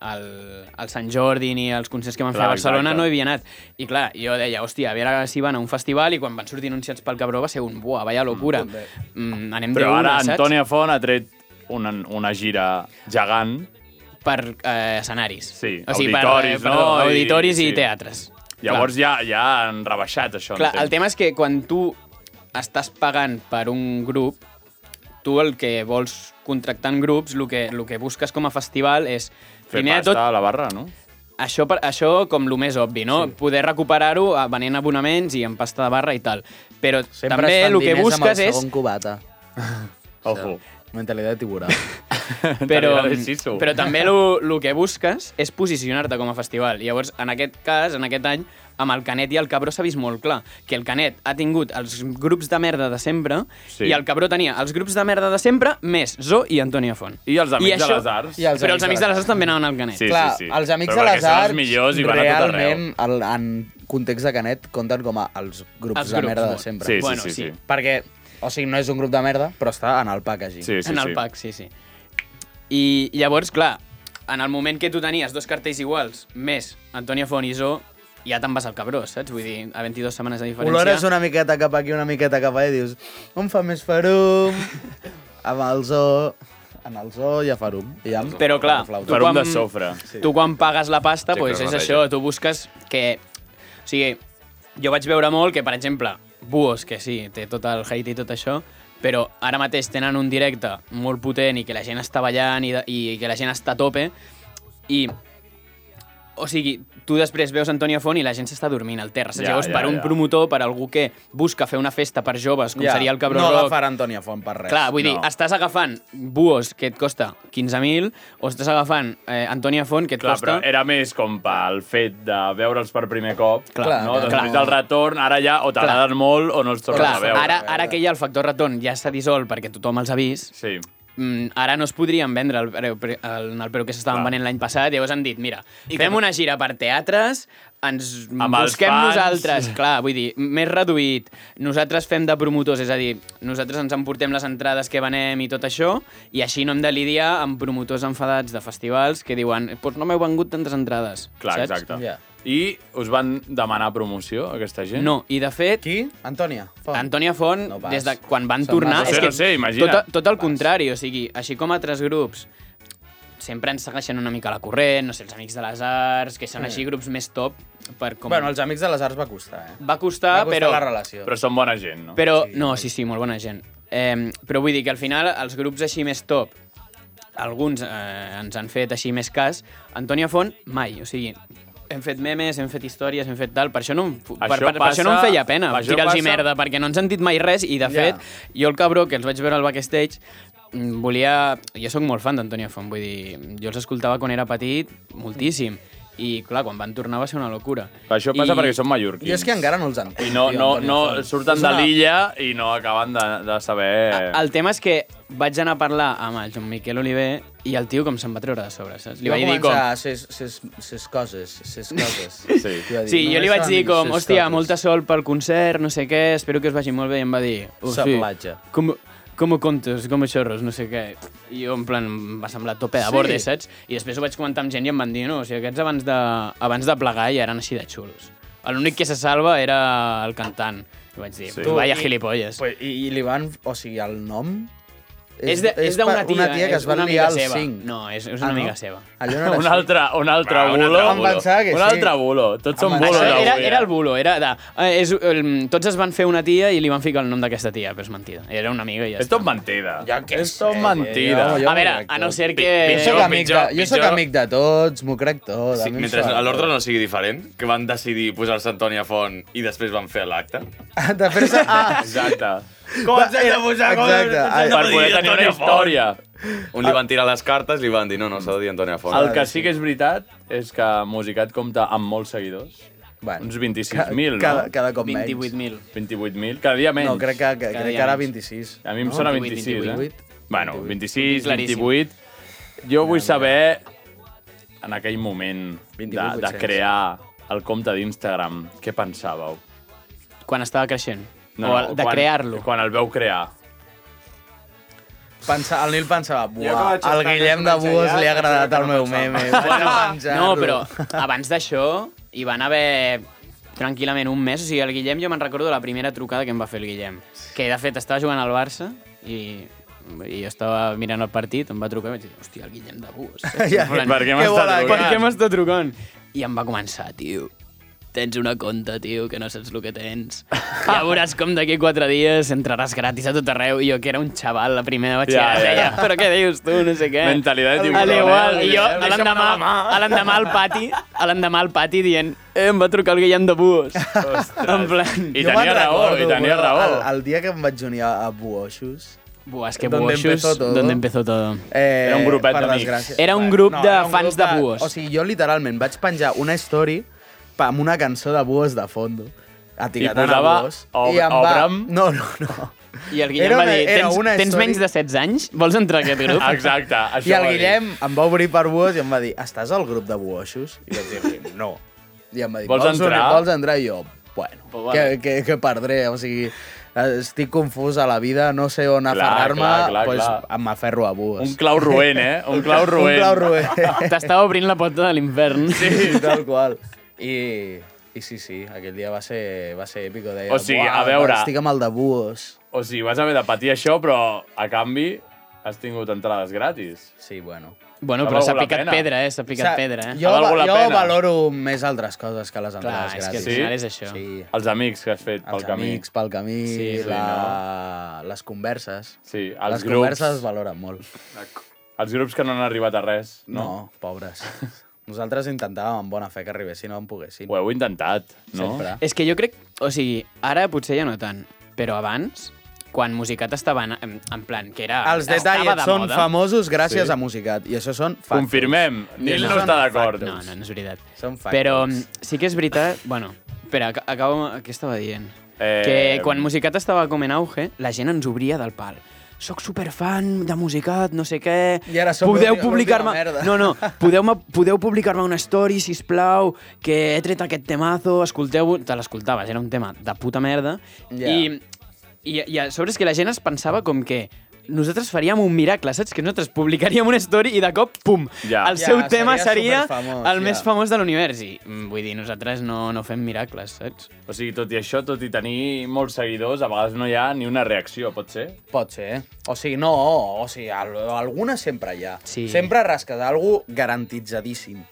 Speaker 8: al, al Sant Jordi ni als concerts que van fer
Speaker 3: Clar,
Speaker 8: a Barcelona,
Speaker 3: exacte.
Speaker 8: no havia anat. I clar, jo deia, hòstia, a veure si van a un festival i quan van sortir anunciats pel Cabró va ser un, buah, vaya locura. Mm, anem
Speaker 3: Però
Speaker 8: de una,
Speaker 3: ara
Speaker 8: saps?
Speaker 3: Antonia Font ha tret una, una gira gegant
Speaker 8: per eh, escenaris.
Speaker 3: Sí,
Speaker 8: o sigui,
Speaker 3: auditoris,
Speaker 8: per,
Speaker 3: no?
Speaker 8: eh, perdó,
Speaker 3: I-
Speaker 8: auditoris i,
Speaker 3: sí.
Speaker 8: i teatres.
Speaker 3: Llavors ja, ja han rebaixat això.
Speaker 8: Clar, clar,
Speaker 3: entenc.
Speaker 8: el tema és que quan tu estàs pagant per un grup, tu el que vols contractar en grups, el que, el que busques com a festival és,
Speaker 3: Fer
Speaker 8: primer de
Speaker 3: pasta
Speaker 8: tot,
Speaker 3: a la barra, no?
Speaker 8: això, per, això com el més obvi, no? Sí. Poder recuperar-ho eh, venent abonaments i amb pasta de barra i tal. Però
Speaker 5: Sempre
Speaker 8: també
Speaker 5: es fan
Speaker 8: el que
Speaker 5: diners amb
Speaker 8: busques
Speaker 5: el
Speaker 8: és...
Speaker 5: segon cubata.
Speaker 3: Ojo.
Speaker 5: Mentalitat de tiburà.
Speaker 8: però,
Speaker 3: T'agrada el Sisu.
Speaker 8: però també el que busques és posicionar-te com a festival. Llavors, en aquest cas, en aquest any, amb el Canet i el Cabró s'ha vist molt clar que el Canet ha tingut els grups de merda de sempre
Speaker 3: Sí.
Speaker 8: sí. i el Cabró tenia els grups de merda de sempre més Zo i Antonia Font.
Speaker 3: I els Amics de les Arts.
Speaker 5: I els
Speaker 8: però els Amics de les Arts també anaven al Canet.
Speaker 3: Sí,
Speaker 5: Clar,
Speaker 3: sí, sí.
Speaker 5: els amics
Speaker 3: Però
Speaker 5: de
Speaker 3: perquè
Speaker 5: les
Speaker 3: són els
Speaker 5: arts
Speaker 3: millors i van a tot arreu.
Speaker 5: realment, el, en context de Canet, compten com a els grups
Speaker 8: Els
Speaker 5: de
Speaker 8: grups,
Speaker 5: merda
Speaker 8: bueno.
Speaker 5: de sempre.
Speaker 3: Sí, sí,
Speaker 8: Bueno,
Speaker 3: sí, sí.
Speaker 8: sí.
Speaker 5: Perquè, o sigui, no és un grup de merda, però està en el packaging.
Speaker 3: sí, sí,
Speaker 8: en
Speaker 3: sí.
Speaker 8: el pack, sí, sí. I llavors, clar, en el moment que tu tenies dos cartells iguals, més Antonia Font i Zo, ja te'n vas al cabró, saps? Vull dir, a 22 setmanes de diferència...
Speaker 5: Olores una miqueta cap aquí, una miqueta cap allà, i dius, on fa més farum? amb el zoo, en el zoo hi ha farum. I amb,
Speaker 8: Però clar,
Speaker 5: amb la flauta.
Speaker 3: Per un de sofre.
Speaker 8: Sí. Tu quan pagues la pasta,
Speaker 11: Sí,
Speaker 8: sí, doncs
Speaker 11: que
Speaker 8: és
Speaker 11: es
Speaker 8: això, tu busques que... O sigui, jo vaig veure molt que, per exemple, Buos, que sí, té tot el hate i tot això, però ara mateix tenen un directe molt potent i que la gent està ballant i, de- i que la gent està a tope i o sigui, tu després veus Antonio Font i la gent s'està dormint al terra.
Speaker 3: Ja,
Speaker 8: Ja,
Speaker 3: ja,
Speaker 8: Llavors, ja, per un
Speaker 3: ja.
Speaker 8: promotor, per algú que busca fer una festa per joves, com ja, seria el Cabró
Speaker 5: no
Speaker 8: Rock...
Speaker 5: la farà Antonia Font per res.
Speaker 8: Clar, vull dir,
Speaker 3: No.
Speaker 8: estàs agafant Buos, que et costa 15.000, o estàs agafant eh, Antonia Font, que et
Speaker 3: Clar,
Speaker 8: costa...
Speaker 3: però era més com pel fet de veure'ls per primer cop,
Speaker 5: Clar,
Speaker 3: no? Doncs
Speaker 5: clar.
Speaker 3: Després del retorn, ara ja o t'agraden molt o no els tornes
Speaker 8: Clar,
Speaker 3: a veure.
Speaker 8: ara, ara que ja el factor retorn ja s'ha dissolt perquè tothom els ha vist,
Speaker 3: Sí.
Speaker 8: mm, ara no es podrien vendre el preu, pre- el, en el preu que s'estaven
Speaker 3: Clar.
Speaker 8: venent l'any passat, llavors han dit, mira, fem una gira per teatres, ens
Speaker 3: Amb els
Speaker 8: busquem
Speaker 3: fans.
Speaker 8: nosaltres, clar, vull dir, més reduït, nosaltres fem de promotors, és a dir, nosaltres ens emportem les entrades que venem i tot això, i així no hem de lidiar amb promotors enfadats de festivals que diuen, doncs no m'heu vengut tantes entrades,
Speaker 3: Clar,
Speaker 8: saps?
Speaker 3: exacte.
Speaker 5: Ja.
Speaker 3: I us van demanar promoció, aquesta gent?
Speaker 8: No, i de fet,
Speaker 5: Qui? Antonia Font.
Speaker 8: Antonia Font,
Speaker 5: No
Speaker 8: no
Speaker 5: pas.
Speaker 8: des de quan van
Speaker 5: Se'n
Speaker 8: tornar...
Speaker 5: va.
Speaker 8: és
Speaker 5: No sé,
Speaker 8: que
Speaker 3: no sé, imagina't.
Speaker 8: Tot, tot el contrari, o sigui, així com altres grups sempre ens segueixen una mica la corrent, no sé, els Amics de les Arts, que són així grups més top per com...
Speaker 5: Bueno, els amics de les arts va costar, eh?
Speaker 8: va costar,
Speaker 5: va costar
Speaker 8: però...
Speaker 5: la relació.
Speaker 3: Però són bona gent, no?
Speaker 8: Però, sí, no, sí, sí, molt bona gent. Eh, però vull dir que al final els grups així més top, alguns eh, ens han fet així més cas, Antonia Font mai, o sigui, hem fet memes, hem fet històries, hem fet tal, per això no, em- per, per,
Speaker 3: Això
Speaker 8: per això no em
Speaker 3: passa-
Speaker 8: feia pena
Speaker 3: això
Speaker 8: tirar-los
Speaker 3: passa-
Speaker 8: merda, perquè no ens han dit mai res i, de
Speaker 5: Ja.
Speaker 8: fet, jo el cabró que els vaig veure al backstage mm, volia... Jo sóc molt fan d'Antonia Font, vull dir, jo els escoltava quan era petit moltíssim I, clar, quan van tornar va ser una locura.
Speaker 3: Això passa perquè són mallorquins.
Speaker 8: Jo és que encara no els entenc.
Speaker 3: I no, no, no surten
Speaker 8: És
Speaker 3: de
Speaker 8: una-
Speaker 3: l'illa i no acaben de, de saber...
Speaker 8: El tema és que vaig anar a parlar amb el Joan Miquel Oliver i el tio com se'n va treure de sobre, saps? Li
Speaker 5: Va
Speaker 8: vaig dir com...
Speaker 5: començar ses, ses, ses coses, ses coses.
Speaker 3: sí.
Speaker 8: Sí, jo li vaig dir com, hòstia, molta sol pel concert, no sé què, espero que us vagi molt bé, i em va dir...
Speaker 5: Sa
Speaker 8: "Hosti,
Speaker 5: platja."
Speaker 8: Com, com contes, com xorros, no sé què. I jo, en plan, em va semblar tope de
Speaker 5: Sí.
Speaker 8: borde, saps? I després ho vaig comentar amb gent i em van dir, no, o sigui, aquests abans de, abans de plegar ja eren així de xulos. L'únic que se salva era el cantant. I vaig dir, sí. vaya gilipolles.
Speaker 5: Pues, i, I li van... O sigui, el nom...
Speaker 8: És de- és d'una
Speaker 5: per
Speaker 8: tia,
Speaker 5: tia
Speaker 8: és
Speaker 5: que es va
Speaker 8: una amiga
Speaker 5: liar al
Speaker 8: seva.
Speaker 5: 5.
Speaker 8: No, és- és una amiga seva.
Speaker 5: Allò no era
Speaker 3: Un
Speaker 5: així.
Speaker 3: altre, un altre
Speaker 5: Va, un
Speaker 3: bulo.
Speaker 5: altre Em bulo. pensava que
Speaker 3: un
Speaker 5: sí.
Speaker 3: altre bulo. Tots són
Speaker 8: Home,
Speaker 3: bulos.
Speaker 8: era, era,
Speaker 3: avui,
Speaker 8: era
Speaker 3: eh?
Speaker 8: el bulo, era de... eh, És, el, tots es van fer una tia i li van ficar el nom d'aquesta tia, però és mentida. Era una amiga i ja
Speaker 3: És tot mentida. Ja és tot mentida.
Speaker 5: mentida. Jo- jo
Speaker 8: a veure,
Speaker 5: m'ho crec
Speaker 8: a no
Speaker 5: tot.
Speaker 8: ser que...
Speaker 5: Jo sóc amic,
Speaker 11: pitjor,
Speaker 5: de, jo sóc
Speaker 11: pitjor.
Speaker 5: amic de tots, m'ho crec tot.
Speaker 11: Sí, mentre l'ordre no sigui diferent, que van decidir posar-se Antònia Font i després van fer l'acte.
Speaker 5: De fer-se... Ah,
Speaker 3: Exacte.
Speaker 11: Com ens hem de posar? Com ens hem de
Speaker 5: eh, Exacte.
Speaker 11: posar?
Speaker 3: Per poder tenir una història.
Speaker 11: Un li van tirar les cartes i li van dir no, no, s'ha de dir Antònia Font.
Speaker 3: El que sí que és veritat és que Musicat compta amb molts seguidors.
Speaker 5: Bueno,
Speaker 3: Uns 26.000,
Speaker 5: cada,
Speaker 3: no?
Speaker 5: cada cop menys.
Speaker 8: 28.000.
Speaker 3: 28.000, cada dia menys.
Speaker 5: No, crec que, que,
Speaker 8: Cada
Speaker 5: crec
Speaker 8: dia
Speaker 5: que ara
Speaker 8: menys.
Speaker 5: 26.
Speaker 3: A mi em
Speaker 5: no?
Speaker 3: sona
Speaker 8: 28,
Speaker 3: 26,
Speaker 8: 28.
Speaker 3: eh? Bueno, 26,
Speaker 8: Claríssim.
Speaker 3: 28... Jo vull saber, en aquell moment de,
Speaker 5: 28,
Speaker 3: de crear el compte d'Instagram, què pensàveu?
Speaker 8: Quan estava creixent. No, o el- de
Speaker 3: quan-
Speaker 8: crear-lo.
Speaker 3: Quan el veu crear.
Speaker 5: Pensa, el Nil pensava,
Speaker 6: Jo com
Speaker 5: buah,
Speaker 6: vaig estar
Speaker 5: al Guillem de
Speaker 6: més o menys
Speaker 5: Buos
Speaker 6: allà,
Speaker 5: li ha agradat
Speaker 6: vaig
Speaker 5: el meu
Speaker 6: pensar,
Speaker 5: meme. Vaig a
Speaker 8: No,
Speaker 5: penjar-lo.
Speaker 8: però abans d'això hi van haver tranquil·lament un mes. O sigui, el Guillem, jo me'n recordo de la primera trucada que em va fer el Guillem. Que, de fet, estava jugant al Barça i i jo estava mirant el partit, em va trucar i vaig dir, hòstia, el Guillem de Bus. eh?
Speaker 5: Ja,
Speaker 3: per què m'està trucant?
Speaker 8: Per què m'està trucant? I em va començar, tio, tens una conta, tio, que no saps el que tens. Ja veuràs com d'aquí quatre dies entraràs gratis a tot arreu. I jo, que era un xaval, la primera de
Speaker 3: Ja,
Speaker 8: batxillerat,
Speaker 3: ja,
Speaker 8: deia,
Speaker 3: ja.
Speaker 8: però què dius tu, no sé què.
Speaker 3: Mentalitat
Speaker 8: Al
Speaker 3: tiburón,
Speaker 8: igual,
Speaker 3: eh?
Speaker 8: i jo
Speaker 3: Eh,
Speaker 8: a l'endemà a l'endemà al pati, a l'endemà al pati dient, eh, em va trucar el Guillem de Bus. en plan...
Speaker 3: I
Speaker 5: Jo me'n
Speaker 3: tenia raó, i
Speaker 5: recordo,
Speaker 3: tenia
Speaker 5: bueno,
Speaker 3: raó.
Speaker 5: El, el dia que em vaig unir a, a Buoixos...
Speaker 8: Buah, és que
Speaker 5: ¿Dónde
Speaker 8: Buoxos,
Speaker 5: empezó todo?
Speaker 8: d'on empezó todo.
Speaker 5: Eh,
Speaker 3: Era un grupet
Speaker 5: per
Speaker 3: d'amics.
Speaker 5: desgràcia.
Speaker 8: Era un grup de
Speaker 5: era un
Speaker 8: fans de Buos.
Speaker 5: O sigui, jo literalment vaig penjar una story pa- amb una cançó de Buos de fondo, etiquetant a
Speaker 3: posava
Speaker 5: Buos.
Speaker 3: Ob-
Speaker 5: em va-
Speaker 3: Obram.
Speaker 5: No, no, no.
Speaker 8: I el Guillem
Speaker 5: Era
Speaker 8: va
Speaker 5: una-
Speaker 8: dir,
Speaker 5: era
Speaker 8: tens,
Speaker 5: una
Speaker 8: tens
Speaker 5: història-
Speaker 8: menys de 16 anys? Vols entrar a aquest grup?
Speaker 3: Exacte, això
Speaker 5: I el
Speaker 3: ho ha dit.
Speaker 5: Guillem em va obrir per Buos i em va dir, estàs al grup de Buoixos? I vaig dir, no. I em va dir,
Speaker 3: Vols
Speaker 5: unir-
Speaker 3: entrar?"
Speaker 5: vols entrar? I jo, bueno,
Speaker 8: Pues vale.
Speaker 5: que, que, que perdré, o sigui... Estic confús a la vida, no sé on
Speaker 3: Clar,
Speaker 5: aferrar-me,
Speaker 3: clar, clar,
Speaker 5: doncs
Speaker 3: clar.
Speaker 5: em aferro a Buos.
Speaker 3: Un clau roent, eh? Un clau roent.
Speaker 5: Un clau roent.
Speaker 8: T'estava obrint la porta de l'infern.
Speaker 5: Sí, tal qual. I, i sí, sí, aquell dia va ser, va ser èpico. Deia,
Speaker 3: O sigui,
Speaker 5: "Buah,
Speaker 3: a veure-
Speaker 5: Estic amb el de Buos.
Speaker 3: O sigui, vas haver de patir això, però a canvi has tingut entrades gratis.
Speaker 5: Sí, bueno.
Speaker 8: Bueno,
Speaker 3: Ha
Speaker 8: però s'ha
Speaker 3: valgut la
Speaker 8: picat
Speaker 3: pena.
Speaker 8: pedra, eh? S'ha picat
Speaker 5: O sigui,
Speaker 8: pedra, eh?
Speaker 5: Jo,
Speaker 3: Ha
Speaker 5: va,
Speaker 3: valgut la
Speaker 5: jo
Speaker 3: pena.
Speaker 5: valoro més altres coses que les
Speaker 8: és
Speaker 5: entrades
Speaker 8: que
Speaker 5: gratis.
Speaker 8: al final és això.
Speaker 5: Sí.
Speaker 3: Els amics que has fet pel
Speaker 5: Els
Speaker 3: camí.
Speaker 5: amics pel camí, sí,
Speaker 3: Sí, sí,
Speaker 5: la... les converses.
Speaker 3: Sí, els
Speaker 5: les
Speaker 3: grups.
Speaker 5: converses es valoren molt.
Speaker 3: Els grups que no han arribat a res,
Speaker 5: No,
Speaker 3: no?
Speaker 5: pobres. Nosaltres intentàvem amb bona fe que arribessin on poguessin.
Speaker 3: Ho heu intentat, no?
Speaker 5: Sempre.
Speaker 8: És que jo crec... O sigui, ara potser ja no tant, però abans, quan Musicat estava en, en, en plan, que era...
Speaker 5: Els
Speaker 8: estava
Speaker 5: detalls
Speaker 8: de
Speaker 5: són
Speaker 8: moda.
Speaker 5: famosos gràcies sí. a Musicat, i això són factos.
Speaker 3: Confirmem. Nil no està d'acord.
Speaker 8: No, no, no és veritat.
Speaker 5: Són factos.
Speaker 8: Però mm, sí que és veritat... Bueno, espera, ac- acabo... Què estava dient?
Speaker 3: Eh,
Speaker 8: Eh... Que quan Musicat estava com en auge, la gent ens obria del pal. Soc superfan de Musicat, no sé què...
Speaker 5: I ara som
Speaker 8: podeu
Speaker 5: l'última-
Speaker 8: publicar-me...
Speaker 5: l'última merda.
Speaker 8: No, no, podeu, podeu publicar-me una story, si plau, que he tret aquest temazo, escolteu... Te l'escoltaves, era un tema de puta merda.
Speaker 5: Ja.
Speaker 8: I, i, I a sobre és que la gent es pensava com que nosaltres faríem un miracle, saps? Que nosaltres publicaríem una story i de cop, pum,
Speaker 3: Ja.
Speaker 8: ja. el seu
Speaker 5: Ja,
Speaker 8: tema
Speaker 5: seria
Speaker 8: seria,
Speaker 5: superfamós,
Speaker 8: el
Speaker 5: ja.
Speaker 8: més famós de l'univers. I mm, vull dir, nosaltres no, no fem miracles, saps?
Speaker 3: O sigui, tot i això, tot i tenir molts seguidors, a vegades no hi ha ni una reacció, pot ser?
Speaker 5: Pot ser. eh? O sigui, no, o sigui, al alguna sempre hi ha.
Speaker 8: Sí.
Speaker 5: Sempre rasques d'algú garantitzadíssim.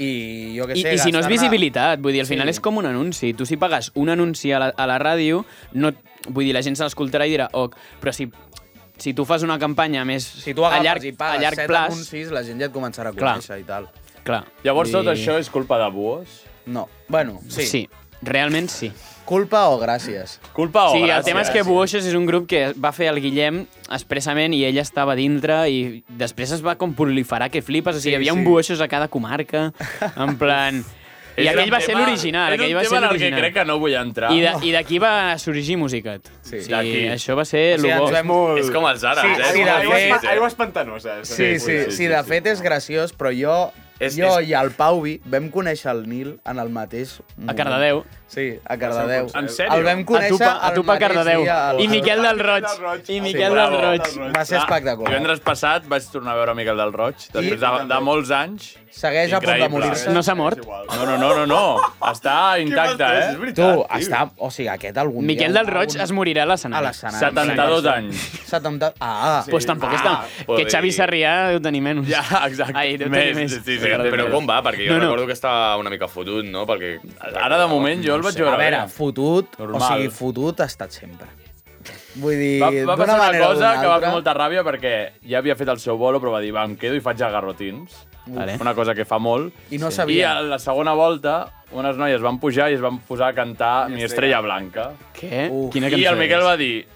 Speaker 5: I jo què
Speaker 8: I,
Speaker 5: sé...
Speaker 8: I si no és
Speaker 5: gastar-ne-
Speaker 8: visibilitat, vull dir, al final
Speaker 5: Sí.
Speaker 8: és com un anunci. Tu si pagues un anunci a la, a la ràdio, no, vull dir, la gent se l'escoltarà i dirà, oh, però si, si tu fas una campanya més
Speaker 5: Si tu agafes
Speaker 8: a llarg,
Speaker 5: i pagues
Speaker 8: a llarg
Speaker 5: set
Speaker 8: plaç,
Speaker 5: anuncis, la gent ja et començarà a
Speaker 8: Clar.
Speaker 5: conèixer i tal.
Speaker 8: clar.
Speaker 3: Llavors,
Speaker 8: Vull
Speaker 3: tot
Speaker 8: dir-
Speaker 3: això és culpa de Buos?
Speaker 5: No. Bueno, sí.
Speaker 8: Sí. Realment sí.
Speaker 5: Culpa o gràcies?
Speaker 3: Culpa
Speaker 8: sí, el tema és que Buoixes és un grup que va fer el Guillem expressament i ell estava dintre i després es va com proliferar que flipes, o sigui, sí, hi havia sí. un Buoixes a cada comarca, en plan... I
Speaker 3: És
Speaker 8: aquell
Speaker 3: un
Speaker 8: va ser
Speaker 3: tema-
Speaker 8: l'original,
Speaker 3: és un
Speaker 8: aquell va
Speaker 3: tema
Speaker 8: ser
Speaker 3: en el que
Speaker 8: l'original.
Speaker 3: crec que no vull entrar.
Speaker 8: I de- I d'aquí va sorgir Musicat. Sí, o sigui,
Speaker 3: d'aquí.
Speaker 8: això va ser
Speaker 5: O sigui,
Speaker 8: lo
Speaker 5: ens
Speaker 8: bo.
Speaker 5: vam molt-
Speaker 11: És com els àrabs,
Speaker 5: Sí,
Speaker 11: eh?
Speaker 5: sí,
Speaker 11: És
Speaker 5: de
Speaker 11: com els
Speaker 5: fet-
Speaker 11: àrabs, eh?
Speaker 6: Aigües pantanoses.
Speaker 5: Sí, sí, sí, sí, sí, de fet és graciós, però jo,
Speaker 11: És-
Speaker 5: és, jo
Speaker 11: és-
Speaker 5: i el Pauvi vam conèixer el Nil en el mateix moment.
Speaker 8: A Cardedeu.
Speaker 5: Sí, a Cardedeu.
Speaker 3: En sèrio?
Speaker 5: El vam
Speaker 8: A
Speaker 5: conèixer
Speaker 8: Tupa, a Tupa Cardedeu. I Miquel del Roig.
Speaker 6: Del Roig.
Speaker 8: I
Speaker 6: Sí,
Speaker 8: Miquel del
Speaker 3: bravo.
Speaker 8: Roig.
Speaker 5: Va ser espectacular.
Speaker 3: Ah, Divendres passat vaig tornar a veure Miquel del Roig, després de, de molts anys.
Speaker 5: Segueix a punt de
Speaker 3: Increïble.
Speaker 5: morir-se.
Speaker 8: No s'ha mort?
Speaker 3: No, no, no, no, no. Està intacte, eh?
Speaker 5: Tu, està... O sigui, aquest algun
Speaker 8: Miquel
Speaker 5: dia...
Speaker 8: del Roig es morirà a
Speaker 5: A
Speaker 8: l'escenari.
Speaker 5: l'escenari.
Speaker 3: 72 anys.
Speaker 5: 70... Ah,
Speaker 8: Doncs pues tampoc està...
Speaker 3: vull
Speaker 8: Que Xavi
Speaker 3: dir-
Speaker 8: Sarrià ho tenim menys.
Speaker 3: Ja, exacte.
Speaker 8: Ai, deu tenir
Speaker 3: Més,
Speaker 8: més.
Speaker 3: sí, sí, sí,
Speaker 11: Però, però com va? Perquè jo no,
Speaker 8: No, no.
Speaker 11: no. recordo que estava una mica fotut, no? Perquè...
Speaker 3: Ara, de moment, jo el vaig veure.
Speaker 5: a veure, fotut,
Speaker 3: Normal.
Speaker 5: o sigui, fotut ha estat sempre. Vull dir,
Speaker 3: Va, va
Speaker 5: d'una
Speaker 3: passar una
Speaker 5: manera o
Speaker 3: cosa
Speaker 5: d'una
Speaker 3: que va
Speaker 5: altra-
Speaker 3: fer molta ràbia perquè ja havia fet el seu bolo, però va dir, va, em quedo i faig agarrotins.
Speaker 8: Vale.
Speaker 3: Una cosa que fa molt.
Speaker 5: I no
Speaker 3: I
Speaker 5: sabia.
Speaker 3: a la segona volta, unes noies van pujar i es van posar a cantar Mi estrella blanca.
Speaker 8: Què?
Speaker 5: Uf.
Speaker 8: Quina
Speaker 3: I
Speaker 8: cançó
Speaker 3: el Miquel
Speaker 8: és?
Speaker 3: va dir,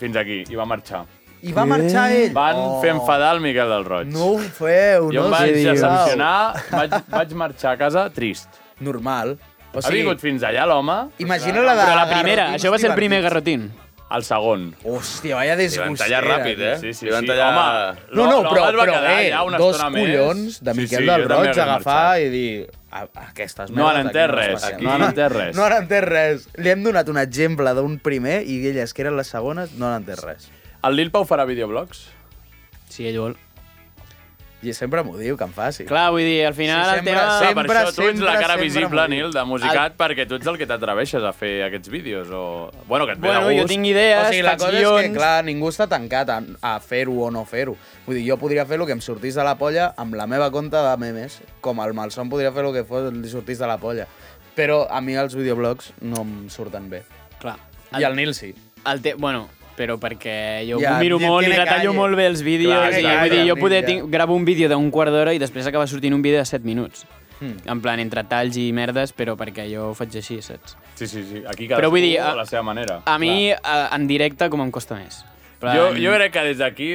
Speaker 3: fins aquí, i va marxar.
Speaker 5: I va marxar ell.
Speaker 3: Van
Speaker 5: Oh.
Speaker 3: fer enfadar el Miquel del Roig.
Speaker 5: No ho feu,
Speaker 3: jo
Speaker 5: no
Speaker 3: em
Speaker 5: us
Speaker 3: vaig
Speaker 5: dieu.
Speaker 3: decepcionar, vaig, vaig marxar a casa trist.
Speaker 5: Normal. O
Speaker 3: Ha
Speaker 5: sigui,
Speaker 3: vingut fins allà l'home,
Speaker 5: imagina la de...
Speaker 8: Però la primera,
Speaker 5: Garrotín,
Speaker 8: això va ser el
Speaker 5: divertit.
Speaker 8: primer garrotín.
Speaker 3: al segon.
Speaker 5: Hòstia, vaya
Speaker 11: Li van
Speaker 5: desgustera.
Speaker 11: tallar ràpid, eh?
Speaker 3: Sí, sí,
Speaker 11: Li van
Speaker 3: sí.
Speaker 11: tallar...
Speaker 3: Home,
Speaker 5: No, no,
Speaker 3: l'home
Speaker 5: però,
Speaker 3: es va
Speaker 5: però
Speaker 3: quedar
Speaker 5: eh,
Speaker 3: allà una
Speaker 5: dos
Speaker 3: estona més.
Speaker 5: collons de
Speaker 3: Sí,
Speaker 5: Miquel
Speaker 3: sí,
Speaker 5: del
Speaker 3: jo també
Speaker 5: Roig
Speaker 3: hagués
Speaker 5: agafar
Speaker 3: marxat.
Speaker 5: i dir... "A- Aquestes
Speaker 3: No han
Speaker 5: merdes
Speaker 3: entès
Speaker 5: aquí
Speaker 3: res,
Speaker 5: es passem".
Speaker 3: aquí no han entès res.
Speaker 5: No han entès res. Li hem donat un exemple d'un primer i elles, que eren les segones, no han entès res.
Speaker 3: El Lil Pau farà videoblogs?
Speaker 8: Sí, ell vol.
Speaker 5: I sempre m'ho diu, que em faci.
Speaker 8: Clar, vull dir, al final
Speaker 5: Sí,
Speaker 8: el
Speaker 5: sempre,
Speaker 8: tema...
Speaker 5: sempre.
Speaker 3: per això tu ets la cara
Speaker 5: sempre
Speaker 3: visible,
Speaker 5: molt bé.
Speaker 3: Nil, de musicat, perquè tu ets el que t'atreveixes a fer aquests vídeos, o... Bueno, que et ve
Speaker 8: Bueno,
Speaker 3: de
Speaker 8: jo
Speaker 3: gust.
Speaker 8: tinc idees,
Speaker 5: o sigui, la
Speaker 8: faig
Speaker 5: cosa
Speaker 8: guions...
Speaker 5: és que, clar, ningú està tancat a, a fer-ho o no fer-ho. Vull dir, jo podria fer el que em sortís de la polla amb la meva conta de memes, com el Malson podria fer el que fos, li sortís de la polla. Però a mi els videoblogs no em surten bé.
Speaker 8: clar.
Speaker 5: I el Nil sí.
Speaker 8: El te... Bueno, però perquè jo
Speaker 5: Ja,
Speaker 8: ho miro
Speaker 5: tiene
Speaker 8: molt i
Speaker 5: calle.
Speaker 8: retallo molt bé els vídeos.
Speaker 5: Clar,
Speaker 8: i,
Speaker 5: clar,
Speaker 8: vull dir,
Speaker 5: clar,
Speaker 8: jo poder
Speaker 5: ja.
Speaker 8: tinc, gravo un vídeo d'un quart d'hora i després acaba sortint un vídeo de 7 minuts.
Speaker 5: Hmm.
Speaker 8: Mm. En plan, entre talls i merdes, però perquè jo ho faig així, saps?
Speaker 3: Sí, sí, sí. Aquí
Speaker 8: Però
Speaker 3: cadascú
Speaker 8: vull dir,
Speaker 3: a
Speaker 8: a-
Speaker 3: la seva manera.
Speaker 8: A mi, a, en directe, com em costa més. En Plan,
Speaker 3: Jo, jo crec que des d'aquí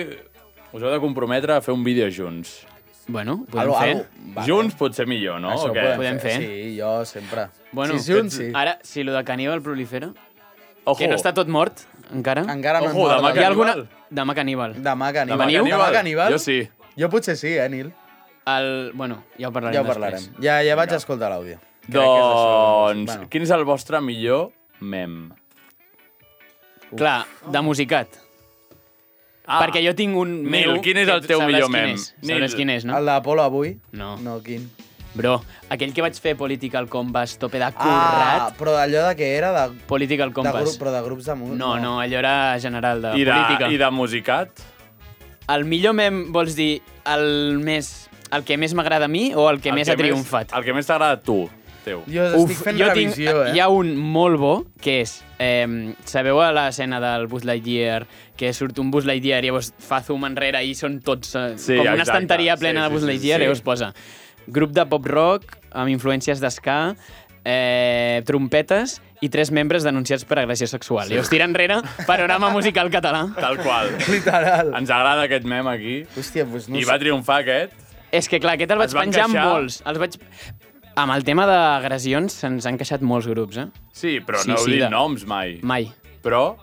Speaker 3: us heu de comprometre a fer un vídeo junts.
Speaker 8: Bueno, ho podem
Speaker 5: Algo-
Speaker 8: fer.
Speaker 5: algo- Va,
Speaker 3: junts potser millor, no?
Speaker 5: Això
Speaker 3: O
Speaker 5: ho
Speaker 3: què?
Speaker 8: podem fer.
Speaker 5: Sí, jo sempre.
Speaker 8: Bueno,
Speaker 5: sí, sí, un sí.
Speaker 8: Ara, si lo de Caníbal prolifera,
Speaker 3: Ojo,
Speaker 8: que no està tot mort, encara.
Speaker 5: Encara no
Speaker 3: Ojo,
Speaker 5: ens
Speaker 3: demà
Speaker 5: mort.
Speaker 3: que-
Speaker 8: Hi ha alguna...
Speaker 3: Caníbal?
Speaker 8: Demà Caníbal.
Speaker 5: Demà que
Speaker 3: Demà
Speaker 5: Aníbal.
Speaker 3: Caníbal?
Speaker 5: Demà que Aníbal?
Speaker 3: Jo sí.
Speaker 5: Jo potser sí, eh, Nil?
Speaker 8: El... Bueno, ja ho parlarem
Speaker 5: Ja ho
Speaker 8: després.
Speaker 5: parlarem. Ja, ja vaig escoltar l'àudio. Crec que és això.
Speaker 3: Doncs,
Speaker 5: Bueno.
Speaker 3: quin és el vostre millor mem?
Speaker 8: Clar, de musicat. Ah, perquè jo tinc un
Speaker 3: Nil,
Speaker 8: meu...
Speaker 3: quin és el
Speaker 8: que
Speaker 3: teu
Speaker 8: sabràs
Speaker 3: millor
Speaker 8: quin
Speaker 3: mem?
Speaker 8: És. Sabràs
Speaker 3: Nil.
Speaker 8: quin és, no?
Speaker 5: El d'Apolo avui?
Speaker 8: No.
Speaker 5: No, quin?
Speaker 8: Bro, aquell que vaig fer Political Compass, tope de currat.
Speaker 5: Ah, però d'allò de que era de,
Speaker 8: Political
Speaker 5: de grup,
Speaker 8: Compass.
Speaker 5: però de grups de música.
Speaker 8: No, no, allò era general de
Speaker 3: I de,
Speaker 8: política.
Speaker 3: I de musicat?
Speaker 8: El millor mem, vols dir, el més... El que més m'agrada a mi o el que el més ha triomfat?
Speaker 3: el que més t'agrada a tu, teu.
Speaker 5: Jo Uf, estic fent
Speaker 8: jo
Speaker 5: revisió,
Speaker 8: tinc,
Speaker 5: eh?
Speaker 8: Hi ha un molt bo, que és... Eh, sabeu a l'escena del Buzz Lightyear, que surt un Buzz Lightyear i llavors fa zoom enrere i són tots... Eh,
Speaker 3: Sí,
Speaker 8: com una
Speaker 3: exacte.
Speaker 8: estanteria
Speaker 3: Sí,
Speaker 8: plena
Speaker 3: sí,
Speaker 8: de Buzz
Speaker 3: sí, sí.
Speaker 8: Lightyear, i llavors posa grup de pop-rock amb influències d'esca, eh, trompetes i tres membres denunciats per agressió sexual. Sí. I us tira enrere panorama musical català.
Speaker 3: Tal qual.
Speaker 5: Literal.
Speaker 3: Ens agrada aquest mem aquí.
Speaker 5: Hòstia, doncs no
Speaker 3: I
Speaker 5: sé.
Speaker 3: va triomfar aquest.
Speaker 8: És que, clar, aquest el vaig
Speaker 3: Es van
Speaker 8: penjar amb
Speaker 3: queixar.
Speaker 8: molts. Els vaig... Amb el tema d'agressions se'ns han queixat molts grups, eh?
Speaker 3: Sí, però
Speaker 8: Sí,
Speaker 3: no heu
Speaker 8: sí,
Speaker 3: dit
Speaker 8: de-
Speaker 3: noms mai.
Speaker 8: Mai.
Speaker 3: Però...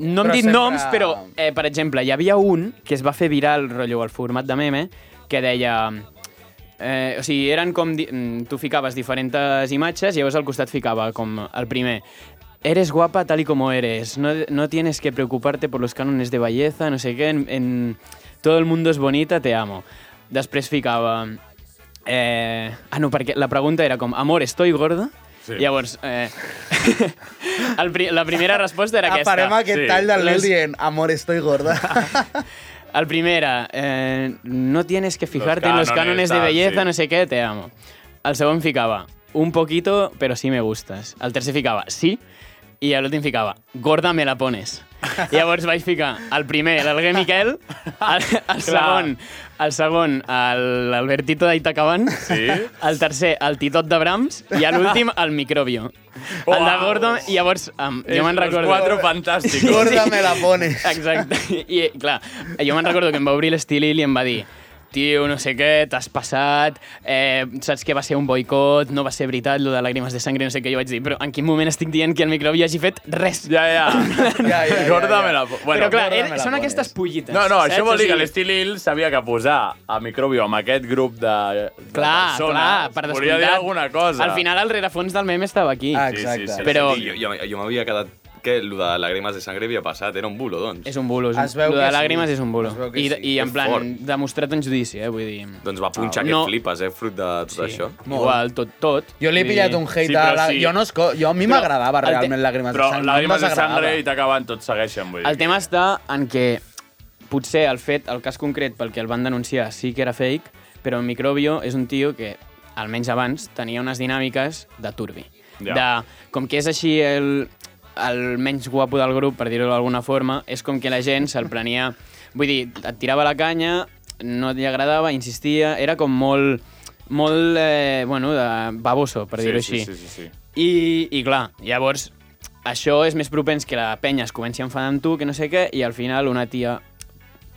Speaker 8: No hem
Speaker 5: Però
Speaker 8: dit
Speaker 5: sempre-
Speaker 8: noms, però, eh, per exemple, hi havia un que es va fer viral, rotllo, al format de meme, que deia... Eh, o sigui, eren com... Di mm, tu ficaves diferents imatges i llavors al costat ficava com el primer... Eres guapa tal y como eres. No, no tienes que preocuparte por los cánones de belleza, no sé qué. En, en... Todo el mundo es bonita, te amo. Després ficava... Eh... Ah, no, perquè la pregunta era com... Amor, estoy gorda? Sí. Llavors, eh... el, pri- la primera resposta era aquesta.
Speaker 5: Aparem aquest
Speaker 3: Sí.
Speaker 5: tall del
Speaker 8: Les-
Speaker 5: Nil dient Amor, estoy gorda.
Speaker 8: El primera, eh, no tienes que fijarte en los
Speaker 3: cánones,
Speaker 8: cánones de
Speaker 3: tal,
Speaker 8: belleza,
Speaker 3: sí.
Speaker 8: no sé qué, te amo. El segon ficava, un poquito, pero sí me gustas. El tercer ficava, sí, i l'últim ficava, gorda me la pones. Llavors vaig ficar el primer, l'Alguer Miquel, el, el segon, el segon, el- l'Albertito d'Aitacaban,
Speaker 11: Sí.
Speaker 8: el tercer, el Titot de Brahms, i a l'últim, el Microbio. El de
Speaker 11: Uau.
Speaker 8: Gordon, i llavors, um, jo me'n
Speaker 11: Els
Speaker 8: recordo...
Speaker 11: quatre fantàstics.
Speaker 5: Gorda me la pones.
Speaker 8: Exacte. I, clar, jo me'n recordo que em va obrir l'Estilil i em va dir tio, no sé què, t'has passat, eh, saps que va ser un boicot, no va ser veritat, lo de Làgrimes de Sangre, no sé què, jo vaig dir, però en quin moment estic dient que el microbi hagi fet res?
Speaker 11: Ja, ja.
Speaker 5: Ja, ja, ja,
Speaker 3: Gorda
Speaker 5: ja.
Speaker 3: me la... po- Bueno,
Speaker 8: però clar,
Speaker 5: Gorda
Speaker 8: eh,
Speaker 5: me la
Speaker 8: són
Speaker 5: pones.
Speaker 8: aquestes pollites.
Speaker 3: No, no, això
Speaker 8: saps?
Speaker 3: vol dir
Speaker 8: O
Speaker 3: que
Speaker 8: sigui,
Speaker 3: l'Estil Hill sabia que posar a Microbio amb aquest grup de, de
Speaker 8: Clar,
Speaker 3: persones
Speaker 8: clar, per descomptat.
Speaker 3: volia dir alguna cosa.
Speaker 8: Al final, el rerefons del meme estava aquí.
Speaker 5: Ah,
Speaker 8: sí.
Speaker 11: Sí,
Speaker 5: exacte.
Speaker 11: sí, sí,
Speaker 8: Però-
Speaker 11: sí, Jo, jo, jo m'havia quedat que el de Làgrimes de Sangre havia passat, era un bulo, doncs.
Speaker 8: És un bulo. És un...
Speaker 5: Es veu
Speaker 8: lo de
Speaker 5: que sí.
Speaker 8: Làgrimes és un bulo.
Speaker 5: Es veu que
Speaker 8: I,
Speaker 5: sí.
Speaker 8: I en
Speaker 11: Que
Speaker 8: plan,
Speaker 11: fort.
Speaker 8: demostrat en judici, eh, vull dir...
Speaker 11: Doncs va
Speaker 6: Ah,
Speaker 11: punxar
Speaker 8: No.
Speaker 11: que flipes, eh, fruit de tot això.
Speaker 8: Igual, tot, tot.
Speaker 5: Jo li he
Speaker 8: Vull
Speaker 5: pillat
Speaker 8: dir-
Speaker 5: un hate
Speaker 3: sí,
Speaker 5: a
Speaker 3: però
Speaker 5: la...
Speaker 3: sí.
Speaker 5: Jo, no esco... jo a mi
Speaker 8: Però
Speaker 5: m'agradava
Speaker 8: el te-
Speaker 5: realment Làgrimes
Speaker 3: Però
Speaker 5: de Sangre. no em
Speaker 3: Làgrimes de
Speaker 5: desagradava.
Speaker 3: Sangre i t'acaben, tots segueixen, vull dir.
Speaker 8: El tema està en que potser el fet, el cas concret pel que el van denunciar sí que era fake, però el Microbio és un tio que, almenys abans, tenia unes dinàmiques de turbi.
Speaker 3: Ja.
Speaker 8: De, com que és així el, el menys guapo del grup, per dir-ho d'alguna forma, és com que la gent se'l prenia... Vull dir, et tirava la canya, no li agradava, insistia, era com molt, molt eh, bueno, de baboso, per dir-ho
Speaker 3: sí,
Speaker 8: així.
Speaker 3: sí, sí, sí, sí.
Speaker 8: I, I clar, llavors, això és més propens que la penya es comenci a enfadar amb tu, que no sé què, i al final una tia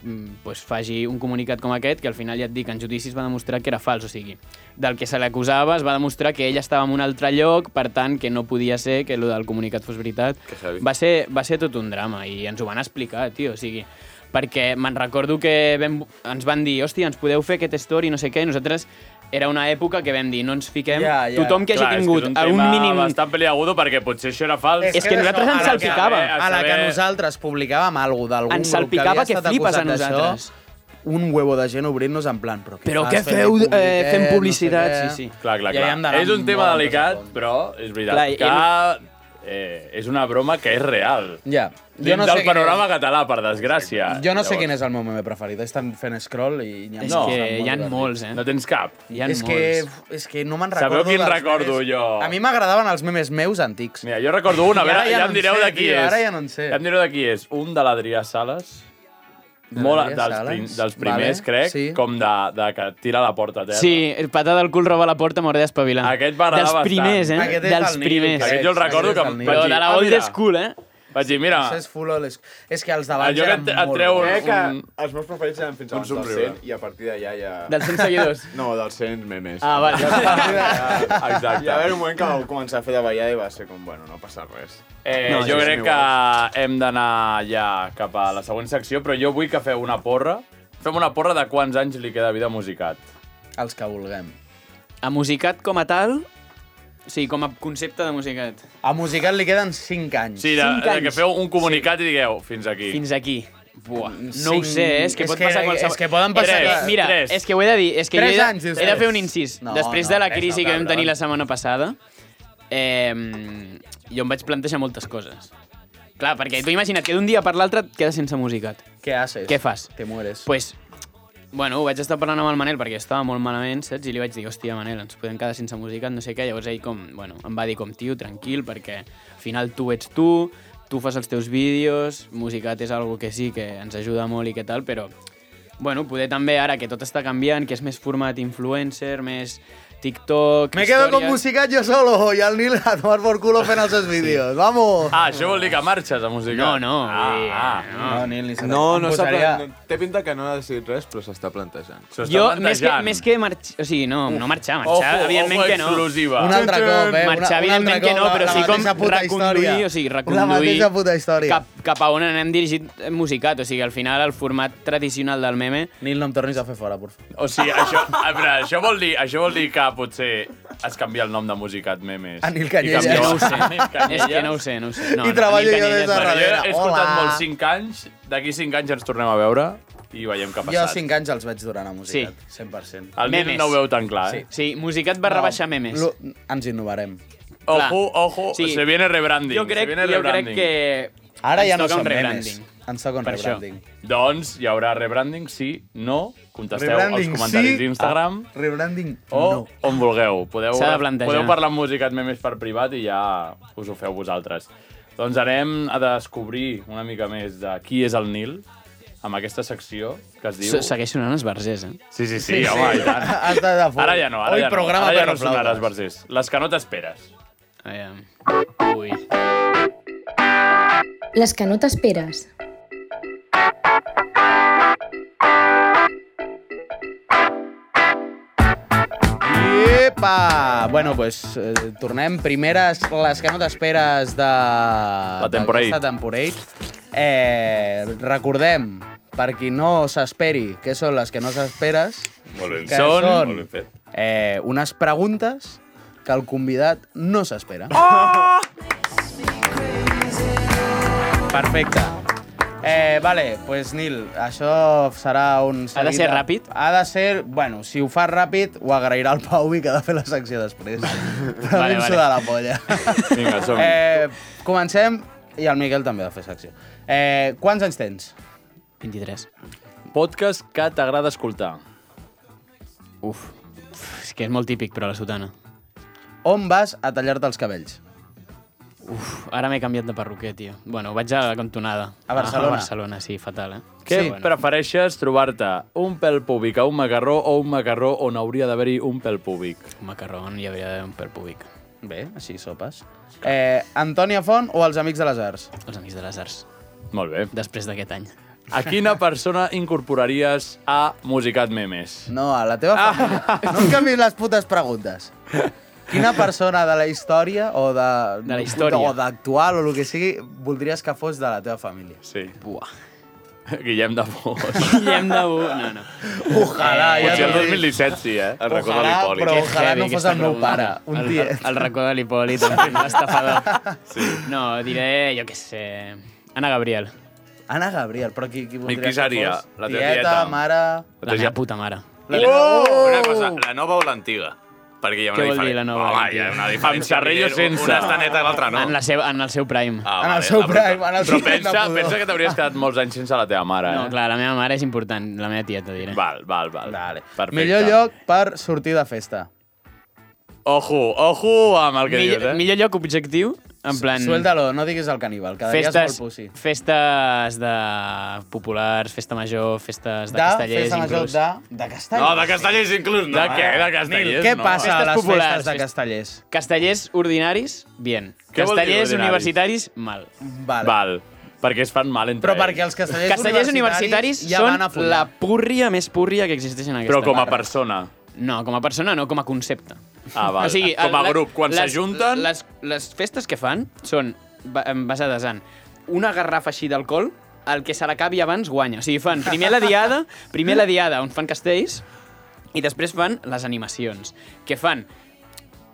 Speaker 8: mm, pues, faci un comunicat com aquest, que al final ja et dic, en judici es va demostrar que era fals, o sigui, del que se l'acusava es va demostrar que ella estava en un altre lloc, per tant, que no podia ser que el del comunicat fos veritat.
Speaker 11: Que heavy.
Speaker 8: Va ser, va ser tot un drama, i ens ho van explicar, tio, o sigui, perquè me'n recordo que vam, ens van dir, hòstia, ens podeu fer aquest story, no sé què, i nosaltres era una època que vam dir, no ens fiquem...
Speaker 5: Ja, ja.
Speaker 8: Tothom que hagi tingut
Speaker 3: és que és
Speaker 8: un,
Speaker 3: tema
Speaker 8: mínim...
Speaker 3: bastant peliagudo perquè potser això era fals.
Speaker 8: És que
Speaker 5: això,
Speaker 8: nosaltres ens
Speaker 5: a la que-
Speaker 8: salpicava.
Speaker 5: A la que
Speaker 3: saber-
Speaker 5: nosaltres publicàvem alguna cosa d'algun
Speaker 8: Ens
Speaker 5: grup que
Speaker 8: salpicava
Speaker 5: havia
Speaker 8: que
Speaker 5: estat
Speaker 8: flipes a
Speaker 5: acusat d'això,
Speaker 8: nosaltres.
Speaker 5: Un huevo de gent obrint-nos en plan... Però,
Speaker 8: Però
Speaker 5: fas,
Speaker 8: què
Speaker 5: fent-hi
Speaker 8: feu, eh, fent
Speaker 5: publicitat, no sé
Speaker 8: publicitat?"
Speaker 5: què.
Speaker 8: Sí, sí.
Speaker 3: Clar, clar,
Speaker 5: I ahí hem
Speaker 3: clar.
Speaker 5: d'anar
Speaker 3: És un tema
Speaker 5: molt
Speaker 3: delicat,
Speaker 5: amb
Speaker 3: però és veritat
Speaker 8: Clar, i-
Speaker 3: que eh, és una broma que és real.
Speaker 5: Ja.
Speaker 3: Dins
Speaker 5: no sé
Speaker 3: del
Speaker 5: quin
Speaker 3: panorama
Speaker 5: és-
Speaker 3: català, per desgràcia.
Speaker 5: Jo no sé quin és el meu meme preferit. Estan fent scroll i... n'hi ha
Speaker 8: És
Speaker 5: molts,
Speaker 8: que
Speaker 5: molt
Speaker 8: hi ha
Speaker 5: divertits.
Speaker 8: molts, eh?
Speaker 3: No tens cap.
Speaker 8: Hi ha
Speaker 5: és
Speaker 8: molts.
Speaker 5: que, és que no me'n
Speaker 3: Sabeu
Speaker 5: recordo
Speaker 3: quin
Speaker 5: dels
Speaker 3: recordo,
Speaker 5: memes.
Speaker 3: jo? Eh?
Speaker 5: A mi m'agradaven els memes meus antics.
Speaker 3: Mira, jo recordo una, a
Speaker 5: I ara
Speaker 3: veure,
Speaker 5: ja
Speaker 3: ja, em
Speaker 5: no en
Speaker 3: direu
Speaker 5: sé,
Speaker 3: de qui
Speaker 5: tio,
Speaker 3: és.
Speaker 5: ara ja no en sé.
Speaker 3: Ja em direu de qui és. Un de l'Adrià Sales,
Speaker 5: De
Speaker 3: molt
Speaker 5: l'Adrià
Speaker 3: dels,
Speaker 5: Sales?
Speaker 3: prim, dels primers,
Speaker 5: Vale,
Speaker 3: crec,
Speaker 5: sí.
Speaker 3: com de, de que tira la porta a terra.
Speaker 8: Sí, el patà del cul roba la porta, m'hauré d'espavilar.
Speaker 3: Aquest m'agrada
Speaker 8: Dels
Speaker 3: bastant.
Speaker 8: primers, eh?
Speaker 5: Aquest és
Speaker 8: Dels
Speaker 5: del Nil,
Speaker 8: primers.
Speaker 3: Aquest jo el
Speaker 5: Aquest
Speaker 3: recordo
Speaker 5: és
Speaker 3: que
Speaker 5: del
Speaker 3: em
Speaker 5: nivell.
Speaker 3: vaig
Speaker 8: Però
Speaker 3: dir,
Speaker 8: de la
Speaker 3: ah,
Speaker 8: old
Speaker 3: mira.
Speaker 8: school, eh?
Speaker 3: Vaig dir, mira,
Speaker 5: Això és full old school. És que els d'abans
Speaker 3: Allò que
Speaker 5: eren
Speaker 3: et- et
Speaker 5: molt
Speaker 3: treu
Speaker 5: bons.
Speaker 6: Crec que
Speaker 3: Un-
Speaker 6: els meus preferits eren fins a
Speaker 3: un
Speaker 6: uns
Speaker 3: somriure.
Speaker 6: 200 i a partir d'allà ja...
Speaker 8: Dels 100 seguidors.
Speaker 6: No, dels 100 memes.
Speaker 8: Ah, vale.
Speaker 6: Exacte. I a
Speaker 3: ah, exacte.
Speaker 6: veure, un moment que vau començar a fer de ballar i va ser com, bueno, no passa res.
Speaker 3: Eh,
Speaker 8: No,
Speaker 3: no, jo
Speaker 8: sí,
Speaker 3: crec
Speaker 8: sí,
Speaker 3: que hem d'anar ja cap a la següent secció, però jo vull que feu una porra. Fem una porra de quants anys li queda vida a musicat.
Speaker 5: Els que vulguem.
Speaker 8: A musicat com a tal, sí, com a concepte de musicat.
Speaker 5: A musical li queden 5 anys.
Speaker 3: Sí, de,
Speaker 8: Cinc
Speaker 3: de que
Speaker 8: anys.
Speaker 3: feu un comunicat sí. i digueu, fins aquí.
Speaker 8: Fins aquí. Buah, no
Speaker 5: Cinc-
Speaker 8: ho sé, eh? és que
Speaker 5: és
Speaker 8: pot
Speaker 5: que-
Speaker 8: passar qualsevol...
Speaker 5: és que poden passar-
Speaker 8: És que, mira,
Speaker 3: Tres.
Speaker 8: és que ho he de dir, és que jo
Speaker 5: Tres
Speaker 8: he de,
Speaker 5: anys, dius,
Speaker 8: he de fer
Speaker 5: tres.
Speaker 8: un incís.
Speaker 5: No,
Speaker 8: Després
Speaker 5: no,
Speaker 8: de la
Speaker 5: tres no,
Speaker 8: crisi que vam
Speaker 5: cabron.
Speaker 8: tenir la setmana passada, eh, jo em vaig plantejar moltes coses. Clar, perquè tu imagina't que d'un dia per l'altre et quedes sense musicat.
Speaker 5: Què haces?
Speaker 8: Què fas?
Speaker 5: Te mueres.
Speaker 8: pues, bueno, ho vaig estar parlant amb el Manel perquè estava molt malament, saps? I li vaig dir, hòstia, Manel, ens podem quedar sense música, no sé què. Llavors ell com, bueno, em va dir com, tio, tranquil, perquè al final tu ets tu, tu fas els teus vídeos, musicat és algo que sí, que ens ajuda molt i què tal, però bueno, poder també ara que tot està canviant, que és més format influencer, més TikTok,
Speaker 5: Me quedo con
Speaker 8: històries.
Speaker 5: musicat jo solo i el Nil a tomar por culo fent els seus vídeos. Vamos!
Speaker 3: Ah, això vol dir que marxes a
Speaker 8: No,
Speaker 3: musicat.
Speaker 8: no,
Speaker 3: Ah,
Speaker 8: eh,
Speaker 3: ah.
Speaker 8: no. no.
Speaker 5: Nil, ni se
Speaker 6: No,
Speaker 5: em
Speaker 6: no s'ha
Speaker 5: posaria-
Speaker 6: plan... Té pinta que no ha decidit res, però s'està plantejant.
Speaker 3: S'ho està
Speaker 8: Jo, més que,
Speaker 3: plantejant.
Speaker 8: més que marxar... O sigui, no, no marxar,
Speaker 3: Ojo,
Speaker 8: marxar, evidentment
Speaker 3: ojo
Speaker 8: que no.
Speaker 3: exclusiva.
Speaker 5: Un altre cop, eh?
Speaker 8: Marxar,
Speaker 5: Una- un altre
Speaker 8: evidentment que
Speaker 5: cop,
Speaker 8: no,
Speaker 5: la-
Speaker 8: però
Speaker 5: la
Speaker 8: sí com
Speaker 5: mateixa puta
Speaker 8: reconduir,
Speaker 5: història.
Speaker 8: o sigui,
Speaker 5: La
Speaker 8: reconduir
Speaker 5: mateixa puta història.
Speaker 8: cap, cap a on anem dirigit musicat. O sigui, al final el format tradicional del meme...
Speaker 5: Nil, no em tornis a fer fora, por favor.
Speaker 3: O sigui, això, a veure, això, vol dir, això vol dir que potser has canviat el nom de Musicat Memes.
Speaker 5: A Nil
Speaker 3: I
Speaker 5: Canyelles.
Speaker 3: canvieu-
Speaker 5: No ho
Speaker 8: sé.
Speaker 3: a Nil Canyelles.
Speaker 8: És que no ho sé, no ho sé. No,
Speaker 5: I
Speaker 8: no, Nil
Speaker 5: treballo jo
Speaker 8: Canyelles,
Speaker 5: des de
Speaker 8: bueno,
Speaker 3: Bueno, jo
Speaker 5: darrere.
Speaker 3: he escoltat
Speaker 5: Hola.
Speaker 3: molts 5 anys, d'aquí 5 anys ens tornem a veure i veiem què ha
Speaker 5: Jo
Speaker 3: passat.
Speaker 5: 5 anys els veig durant a musicat,
Speaker 8: Sí.
Speaker 5: 100%.
Speaker 3: El Nil
Speaker 8: Memes.
Speaker 3: no ho veu tan clar, eh?
Speaker 8: Sí, musicat barra no, baixar memes.
Speaker 5: Lo- Ens innovarem.
Speaker 3: Ojo, ojo,
Speaker 8: Sí.
Speaker 3: se viene rebranding.
Speaker 8: Jo crec,
Speaker 3: se viene
Speaker 8: jo crec
Speaker 3: rebranding.
Speaker 8: que...
Speaker 5: Ara
Speaker 8: ens
Speaker 5: ja no
Speaker 8: toca un
Speaker 5: són memes.
Speaker 8: rebranding.
Speaker 5: Ens toca un
Speaker 8: Per això.
Speaker 5: rebranding.
Speaker 3: Doncs hi haurà rebranding, sí, no, contesteu
Speaker 5: Rebranding,
Speaker 3: als comentaris
Speaker 5: sí.
Speaker 3: d'Instagram
Speaker 5: Rebranding,
Speaker 3: o
Speaker 5: no.
Speaker 3: on vulgueu. Podeu,
Speaker 8: S'ha de plantejar.
Speaker 3: podeu parlar amb música memes per privat i ja us ho feu vosaltres. Doncs anem a descobrir una mica més de qui és el Nil amb aquesta secció que es diu...
Speaker 8: Se- Segueix sonant esbarzers, eh?
Speaker 3: Sí, sí, sí, home, i tant.
Speaker 5: Has de de fora.
Speaker 3: Ara ja no, ara
Speaker 5: Hoy
Speaker 3: ja no.
Speaker 5: programa
Speaker 3: Ara ja
Speaker 5: per
Speaker 3: no sonaràs,
Speaker 5: aplaudir.
Speaker 3: Barcés. Les que no t'esperes.
Speaker 8: Aviam. Ui.
Speaker 1: Les que no t'esperes.
Speaker 5: Iepa! Bueno, pues, eh, tornem. Primeres, les que no t'esperes de... La
Speaker 3: temporada.
Speaker 5: temporada. Eh, recordem, per qui no s'esperi, què són les que no s'esperes,
Speaker 11: Molt ben
Speaker 5: que
Speaker 11: fet.
Speaker 5: són,
Speaker 11: Molt ben fet.
Speaker 5: eh, unes preguntes que el convidat no s'espera.
Speaker 3: Oh!
Speaker 5: Perfecte. Eh, vale, pues Nil, això serà un...
Speaker 8: Ha de
Speaker 5: seguit
Speaker 8: ser ràpid?
Speaker 5: Ha de ser... Bueno, si ho fas ràpid, ho agrairà el Pau i que ha de fer la secció després. Però
Speaker 8: Vale,
Speaker 5: vale,
Speaker 8: vale.
Speaker 5: vale. de la polla.
Speaker 3: Vinga, som-hi.
Speaker 5: Eh, comencem, i el Miquel també ha de fer secció. Eh, quants anys tens?
Speaker 8: 23.
Speaker 3: Podcast que t'agrada escoltar.
Speaker 8: Uf. Uf. És que és molt típic, però la sotana.
Speaker 5: On vas a tallar-te els cabells?
Speaker 8: Uf, ara m'he canviat de perruquer, tio. Bueno, vaig a la cantonada. Ah,
Speaker 5: A Barcelona.
Speaker 8: A Barcelona, sí, fatal, eh?
Speaker 3: Què
Speaker 8: Sí,
Speaker 3: sí, prefereixes trobar-te? Un pèl públic a un macarró o un macarró on hauria d'haver-hi un pèl públic?
Speaker 8: Un macarrón hi hauria d'haver un per públic.
Speaker 5: Bé, així sopes. Eh, Antònia Font o els Amics de les Arts?
Speaker 8: Els Amics de les Arts.
Speaker 3: Molt bé.
Speaker 8: Després d'aquest any.
Speaker 3: A quina persona incorporaries a Musicat Memes?
Speaker 5: No, a la teva família. No em canviïs les putes preguntes. Quina persona de la història o de...
Speaker 8: De la història.
Speaker 5: O d'actual o el que sigui, voldries que fos de la teva família?
Speaker 3: Sí.
Speaker 8: Buah.
Speaker 3: Guillem de Pous.
Speaker 8: Guillem de Bu... No, no.
Speaker 5: Ojalà, ja
Speaker 3: Eh, Potser el
Speaker 5: t'ho dic.
Speaker 3: 2017 sí, eh?
Speaker 11: El racó de
Speaker 5: Ojalà,
Speaker 11: l'Hipòlit.
Speaker 5: però-
Speaker 8: Que
Speaker 5: Ojalà
Speaker 8: heavy
Speaker 5: no fos
Speaker 8: aquesta
Speaker 5: el meu
Speaker 8: pregunta.
Speaker 5: pare, un
Speaker 8: El-
Speaker 5: dia.
Speaker 8: El, el racó de l'Hipòlit, en fi, l'estafador. Sí. No, diré, jo què sé... Ana Gabriel.
Speaker 5: Ana Gabriel, però qui, qui voldries
Speaker 11: qui seria?
Speaker 5: que fos?
Speaker 11: La teva
Speaker 5: tieta,
Speaker 11: tieta.
Speaker 5: mare...
Speaker 11: La
Speaker 8: La
Speaker 11: teva-
Speaker 8: meva puta mare.
Speaker 11: I la-
Speaker 5: Oh!
Speaker 11: Una cosa, la nova o l'antiga? Perquè hi ha una
Speaker 8: Què vol
Speaker 11: diferència.
Speaker 8: dir, la nova o
Speaker 11: Home, hi
Speaker 8: l'antiga?
Speaker 11: ha una diferència.
Speaker 3: Amb Serrello
Speaker 11: evident.
Speaker 3: sense.
Speaker 11: Una està neta i l'altra no.
Speaker 8: En, la seva, en el seu prime.
Speaker 11: Ah,
Speaker 5: En el
Speaker 11: vale,
Speaker 5: seu
Speaker 11: la
Speaker 5: prime,
Speaker 11: bruta.
Speaker 5: en el
Speaker 3: Però
Speaker 5: seu
Speaker 3: pensa,
Speaker 5: pudor.
Speaker 3: pensa que t'hauries quedat molts anys sense la teva mare,
Speaker 8: No,
Speaker 3: eh?
Speaker 8: clar, la meva mare és important, la meva tieta, diré.
Speaker 3: Val, val, val.
Speaker 5: Vale.
Speaker 3: Perfecte.
Speaker 5: Millor lloc per sortir de festa.
Speaker 3: Ojo, ojo amb el que
Speaker 8: Millor,
Speaker 3: dius, eh?
Speaker 8: millor lloc objectiu, en plan...
Speaker 5: Suéltalo, no diguis el caníbal, quedaries
Speaker 8: festes,
Speaker 5: molt pussy.
Speaker 8: festes de populars, festa major, festes de, castellers,
Speaker 5: festa major
Speaker 8: inclús.
Speaker 5: de... De castellers?
Speaker 11: No, de castellers inclús no.
Speaker 3: De què?
Speaker 11: eh?
Speaker 3: De castellers?
Speaker 5: Què
Speaker 3: no.
Speaker 5: passa a
Speaker 8: Festes
Speaker 5: les
Speaker 8: populars,
Speaker 5: festes de
Speaker 8: festes-
Speaker 5: castellers?
Speaker 8: Castellers ordinaris, bien.
Speaker 3: Què vol dir
Speaker 8: castellers
Speaker 3: ordinaris?
Speaker 8: universitaris, mal.
Speaker 5: Vale.
Speaker 3: Val. Perquè es fan mal entre
Speaker 5: Però perquè
Speaker 3: ells.
Speaker 5: els castellers,
Speaker 8: Castellers universitaris,
Speaker 5: ja
Speaker 8: són
Speaker 5: van a follar.
Speaker 8: la púrria més púrria que existeix en aquesta
Speaker 3: Però com a
Speaker 8: barra.
Speaker 3: persona.
Speaker 8: No, com a persona no, com a concepte.
Speaker 3: Ah, val. com a
Speaker 8: el- la-
Speaker 3: grup, quan
Speaker 8: les-
Speaker 3: s'ajunten...
Speaker 8: Les, les festes que fan són ba- em- basades en una garrafa així d'alcohol, el que se l'acabi abans guanya. O sigui, fan primer la diada, primer la diada on fan castells, i després fan les animacions, que fan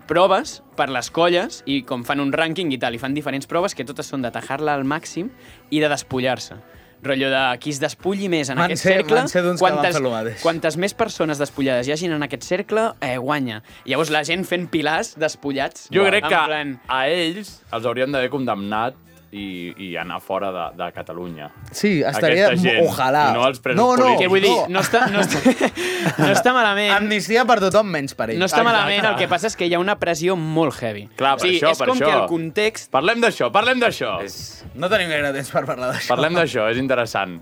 Speaker 8: proves per les colles i com fan un rànquing i tal, i fan diferents proves que totes són de tajar-la al màxim i de despullar-se. Rotllo de qui es despulli més en
Speaker 5: Van
Speaker 8: aquest
Speaker 5: ser-
Speaker 8: cercle,
Speaker 5: van ser d'uns que van fer lo mateix.
Speaker 8: quantes més persones despullades hi hagin en aquest cercle, eh, guanya. Llavors la gent fent pilars despullats.
Speaker 3: Jo crec
Speaker 8: en
Speaker 3: que
Speaker 8: Plan,
Speaker 3: a ells els haurien d'haver condemnat i, i anar fora de, de Catalunya.
Speaker 5: Sí, estaria...
Speaker 3: Aquesta gent,
Speaker 5: Ojalà.
Speaker 3: i no els presos
Speaker 5: no, no,
Speaker 3: polítics.
Speaker 8: que vull dir, no està, no està, no està malament.
Speaker 5: Amnistia per tothom, menys per ells.
Speaker 8: No està malament, el que passa és que hi ha una pressió molt heavy.
Speaker 3: Clar, per
Speaker 8: o sigui,
Speaker 3: això,
Speaker 8: és
Speaker 3: per
Speaker 8: com
Speaker 3: això.
Speaker 8: que el context...
Speaker 3: Parlem d'això, parlem d'això.
Speaker 5: No tenim gaire temps per parlar d'això.
Speaker 3: Parlem d'això, és interessant.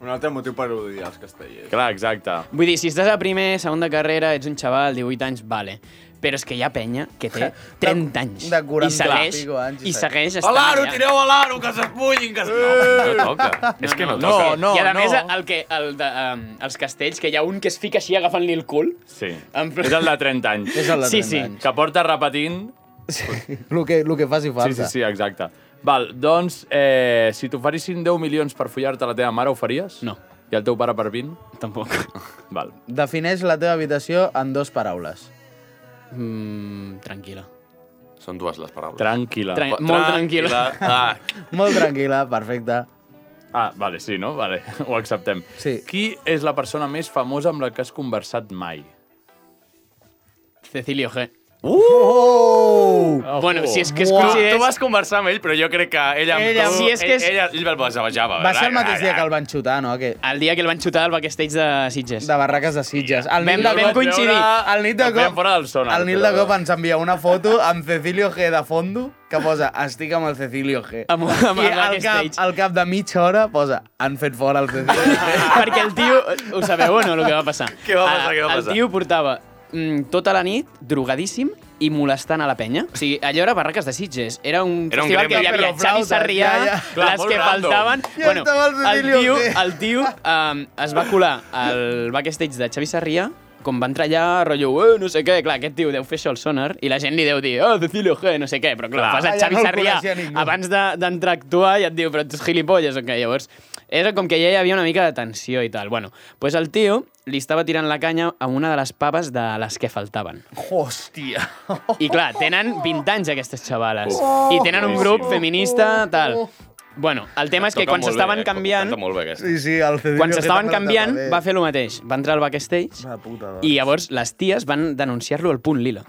Speaker 6: Un altre motiu per odiar els castellers.
Speaker 3: Clar, exacte.
Speaker 8: Vull dir, si estàs a primer, segon de carrera, ets un xaval, 18 anys, vale. Però és que hi ha penya que té 30 anys.
Speaker 5: de 40
Speaker 8: I segueix,
Speaker 5: pico anys,
Speaker 8: i
Speaker 5: sí.
Speaker 8: segueix
Speaker 11: A
Speaker 8: estant
Speaker 11: l'aro,
Speaker 8: allà.
Speaker 11: tireu a l'aro, que s'espullin, que es... No, no toca. És que no
Speaker 3: no,
Speaker 11: toca.
Speaker 3: no,
Speaker 8: I a
Speaker 3: no.
Speaker 8: més, el que, el de, um, els castells, que hi ha un que es fica així agafant-li el cul.
Speaker 3: Sí.
Speaker 8: En plan-
Speaker 3: És el de 30 anys.
Speaker 5: És el de
Speaker 8: Sí,
Speaker 5: 30
Speaker 8: sí.
Speaker 5: anys.
Speaker 3: Que porta repetint...
Speaker 5: El que, el que faci
Speaker 3: Sí,
Speaker 5: falta.
Speaker 3: sí, sí, exacte. Val, doncs, eh, si t'oferissin 10 milions per follar-te la teva mare, ho faries?
Speaker 8: No.
Speaker 3: I el teu pare per 20?
Speaker 8: Tampoc.
Speaker 3: Val.
Speaker 5: Defineix la teva habitació en dues paraules.
Speaker 8: Mm, tranquil·la.
Speaker 11: Són dues les paraules.
Speaker 3: Tranquil·la.
Speaker 8: Tran- Molt tranquil·la.
Speaker 11: Ah,
Speaker 5: Molt tranquil·la, perfecte.
Speaker 3: Ah, vale, sí, no? Vale, ho acceptem.
Speaker 5: Sí.
Speaker 3: Qui és la persona més famosa amb la que has conversat mai?
Speaker 8: Cecilio G.
Speaker 3: Uh!
Speaker 8: Oh, bueno, si és que es
Speaker 11: Tu,
Speaker 8: coincideix...
Speaker 11: tu vas conversar amb ell, però jo crec que ella... amb
Speaker 8: Ella-
Speaker 11: tu,
Speaker 8: si és que és-
Speaker 11: ell, ella, ell el basejava.
Speaker 5: Va ser el mateix dia que el van xutar, no? Que...
Speaker 8: El dia que el van xutar al backstage de Sitges.
Speaker 5: De barraques de Sitges. El
Speaker 8: Vam-
Speaker 5: Nil de
Speaker 8: vam
Speaker 5: cop-
Speaker 8: coincidir.
Speaker 5: El Nil de
Speaker 3: Ens veiem
Speaker 5: cop,
Speaker 3: fora del sonar,
Speaker 5: el Nil de
Speaker 3: però-
Speaker 5: cop ens envia una foto amb Cecilio G de fondo que posa estic amb el Cecilio G.
Speaker 8: Amb- amb
Speaker 5: I
Speaker 8: el
Speaker 5: al cap,
Speaker 8: backstage.
Speaker 5: al cap de mitja hora posa han fet fora el Cecilio G.
Speaker 8: Perquè el tio... Ho sabeu o no, el que va passar?
Speaker 11: Què va passar,
Speaker 8: Ah,
Speaker 11: què va
Speaker 8: El
Speaker 11: passar?
Speaker 8: tio portava mm, tota la nit drogadíssim i molestant a la penya. O sigui, allò era barraques de Sitges. Era un
Speaker 11: Era un
Speaker 8: festival que
Speaker 11: gremi.
Speaker 8: hi havia
Speaker 5: Però
Speaker 8: Xavi
Speaker 5: flautes,
Speaker 8: Sarrià,
Speaker 5: ja, ja.
Speaker 8: les
Speaker 11: Clar, molt
Speaker 8: que
Speaker 11: random.
Speaker 8: faltaven...
Speaker 5: Ja estava el
Speaker 8: el
Speaker 5: Cecilio
Speaker 8: tio,
Speaker 5: G.
Speaker 8: el tio um, es va colar al backstage de Xavi Sarrià com va entrar allà, rotllo, eh, no sé què, clar, aquest tio deu fer això al sonar, i la gent li deu dir, oh, Cecilio G, no sé què, però clar,
Speaker 11: Clar.
Speaker 8: fas a
Speaker 5: Allà
Speaker 8: Xavi
Speaker 5: no el
Speaker 8: Sarrià
Speaker 5: coneixia ningú.
Speaker 8: abans abans de- d'entrar a actuar ja et diu, però tu ets gilipolles, o què? Llavors, era com que ja hi havia una mica de tensió i tal. Bueno, doncs pues el tio li estava tirant la canya a una de les paves de les que faltaven.
Speaker 5: Hòstia.
Speaker 8: I clar, tenen 20 anys aquestes xavales.
Speaker 5: Oh.
Speaker 8: I tenen un grup feminista, tal. Bueno, el tema és que quan s'estaven canviant...
Speaker 11: Canta molt bé, aquesta.
Speaker 5: Sí, sí, el Cecilio
Speaker 8: Quan
Speaker 5: G
Speaker 8: s'estaven
Speaker 5: també
Speaker 8: canviant,
Speaker 5: està bé.
Speaker 8: va fer el mateix. Va entrar al backstage
Speaker 5: Una puta, dona.
Speaker 8: i llavors les ties van denunciar-lo al punt lila.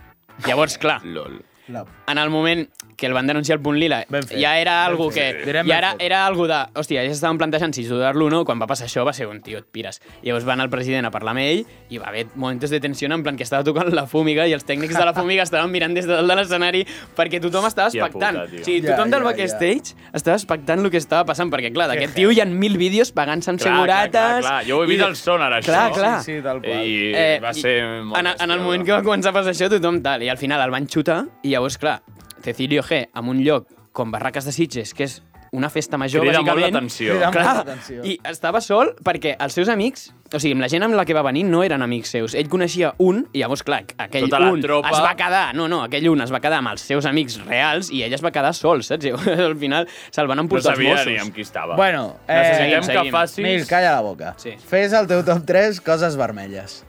Speaker 8: Llavors, clar,
Speaker 11: LOL.
Speaker 5: La-
Speaker 8: en el moment que el van denunciar al punt lila,
Speaker 5: Ben fet.
Speaker 8: ja era algo que...
Speaker 5: Direm
Speaker 8: Ja
Speaker 5: ben
Speaker 8: era,
Speaker 5: fet.
Speaker 8: era algo de... Hòstia, ja s'estaven plantejant si ajudar-lo o no, quan va passar això va ser un tio, et pires. Llavors van al president a parlar amb ell i va haver moments de tensió en plan que estava tocant la fúmiga i els tècnics de la fúmiga estaven mirant des de dalt de l'escenari perquè tothom estava
Speaker 3: Hòstia puta,
Speaker 8: expectant.
Speaker 3: tio.
Speaker 8: o sigui,
Speaker 5: Ja,
Speaker 8: tothom del
Speaker 5: ja, ja.
Speaker 8: backstage estava expectant el que estava passant, perquè clar, d'aquest tio hi ha mil vídeos pagant-se amb
Speaker 3: Clar, clar,
Speaker 8: segurates...
Speaker 3: clar, clar. Jo ho he vist
Speaker 8: i-
Speaker 3: al Sonar, això.
Speaker 8: Clar, clar.
Speaker 5: Sí, sí, tal qual.
Speaker 3: I
Speaker 8: Eh,
Speaker 3: va
Speaker 8: i-
Speaker 3: ser... molt
Speaker 8: En, en el
Speaker 3: bèstia,
Speaker 8: moment que va començar a passar això, tothom tal. I al final el van xutar i llavors, clar, Cecilio G, en un lloc com Barraques de Sitges, que és una festa major,
Speaker 3: Crida molt
Speaker 8: bàsicament...
Speaker 3: l'atenció.
Speaker 5: Crida molt
Speaker 8: Clar,
Speaker 5: l'atenció.
Speaker 8: i estava sol perquè els seus amics, o sigui, amb la gent amb la que va venir no eren amics seus. Ell coneixia un i llavors, clar, aquell
Speaker 3: Tota la
Speaker 8: un
Speaker 3: tropa.
Speaker 8: es va quedar, no, no, aquell un es va quedar amb els seus amics reals i ell es va quedar sol, saps? Llavors, al final se'l van
Speaker 3: No
Speaker 8: emportar
Speaker 3: sabia
Speaker 8: els
Speaker 3: ni
Speaker 8: Mossos.
Speaker 3: amb qui estava.
Speaker 5: Bueno,
Speaker 3: Necessitem
Speaker 8: seguim,
Speaker 5: eh,
Speaker 8: seguim.
Speaker 3: que facis...
Speaker 5: Nil, calla la boca.
Speaker 8: Sí.
Speaker 5: Fes el teu top 3 coses vermelles.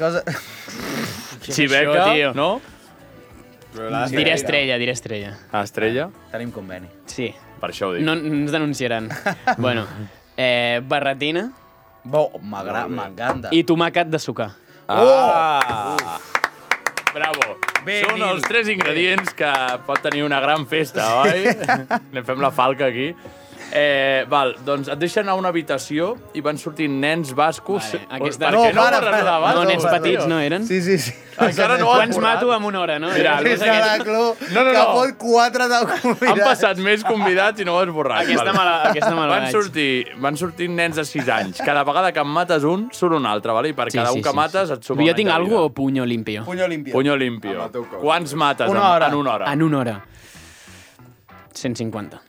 Speaker 5: Cosa...
Speaker 3: Xiveca,
Speaker 8: Això, tio.
Speaker 3: no?
Speaker 8: Diré estrella, diré estrella.
Speaker 3: Estrella?
Speaker 5: Tenim conveni.
Speaker 8: Sí.
Speaker 3: Per això ho dic.
Speaker 8: No, no ens denunciaran. bueno, eh, barretina
Speaker 5: Bo, m'agrada, m'encanta.
Speaker 8: i tomàquet de sucar.
Speaker 3: Bravo.
Speaker 5: Bé,
Speaker 3: Són
Speaker 5: Nil.
Speaker 3: els tres ingredients que pot tenir una gran festa, oi? Anem fem la falca aquí. Eh, val, doncs et deixen a una habitació i van sortir nens bascos.
Speaker 8: Vale, aquesta-
Speaker 3: Per què no, Ah, no
Speaker 5: No, para, para.
Speaker 3: reservaves?
Speaker 8: No, nens
Speaker 5: perdó.
Speaker 8: petits no eren?
Speaker 5: Sí, sí, sí.
Speaker 3: Encara no han
Speaker 8: Quants
Speaker 3: borrat.
Speaker 8: mato en una hora, no?
Speaker 3: Mira,
Speaker 5: Des de la Clou,
Speaker 3: No, no,
Speaker 5: que
Speaker 3: no.
Speaker 5: fot quatre de convidats.
Speaker 3: Han passat més convidats i no ho has borrat.
Speaker 8: Aquesta
Speaker 3: vale.
Speaker 8: me la- aquesta me la
Speaker 3: van
Speaker 8: vaig.
Speaker 3: sortir, van sortir nens de 6 anys. Cada vegada que en mates un, surt un altre, vale? i per cada un que mates et suma un
Speaker 8: Jo
Speaker 3: any
Speaker 8: tinc
Speaker 3: de
Speaker 8: algo o
Speaker 3: vida.
Speaker 8: puño limpio?
Speaker 5: Puño limpio.
Speaker 3: Puño limpio.
Speaker 6: Amb el teu cos.
Speaker 3: Quants mates
Speaker 5: Una
Speaker 3: en-
Speaker 5: hora.
Speaker 3: en una hora?
Speaker 8: En una hora. 150.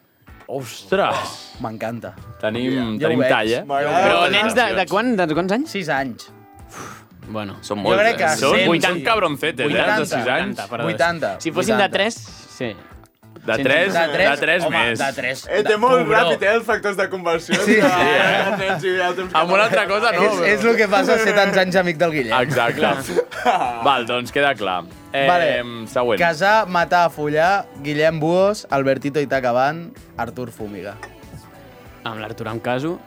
Speaker 3: Ostres!
Speaker 5: M'encanta.
Speaker 3: Tenim,
Speaker 5: Ja ho
Speaker 3: tenim
Speaker 5: veig.
Speaker 3: tall, eh?
Speaker 6: M'agrada.
Speaker 8: Però nens de, de, quan, de quants anys?
Speaker 5: Sis anys.
Speaker 8: Bueno.
Speaker 11: Són
Speaker 5: jo
Speaker 11: molts,
Speaker 5: crec que
Speaker 11: eh?
Speaker 3: Són
Speaker 5: cent, sí.
Speaker 3: 80 cabroncetes, eh? De 6 anys.
Speaker 8: 80, perdó.
Speaker 5: 80,
Speaker 8: Si fossin de
Speaker 5: 80.
Speaker 8: 3, sí.
Speaker 3: De 3,
Speaker 5: De tres,
Speaker 3: de 3
Speaker 5: home,
Speaker 3: més.
Speaker 5: de tres.
Speaker 6: Eh, té molt ràpid, eh, els factors de conversió. Sí, sí, eh?
Speaker 3: Amb una altra cosa, no.
Speaker 5: és, és el que passa ser tants anys amic del Guillem.
Speaker 3: Exacte. Val, doncs queda clar. Eh,
Speaker 5: Vale.
Speaker 3: Següent.
Speaker 5: Casar, matar, follar, Guillem Buos, Albertito Itacabant, Artur Fumiga.
Speaker 8: Amb l'Artur em caso,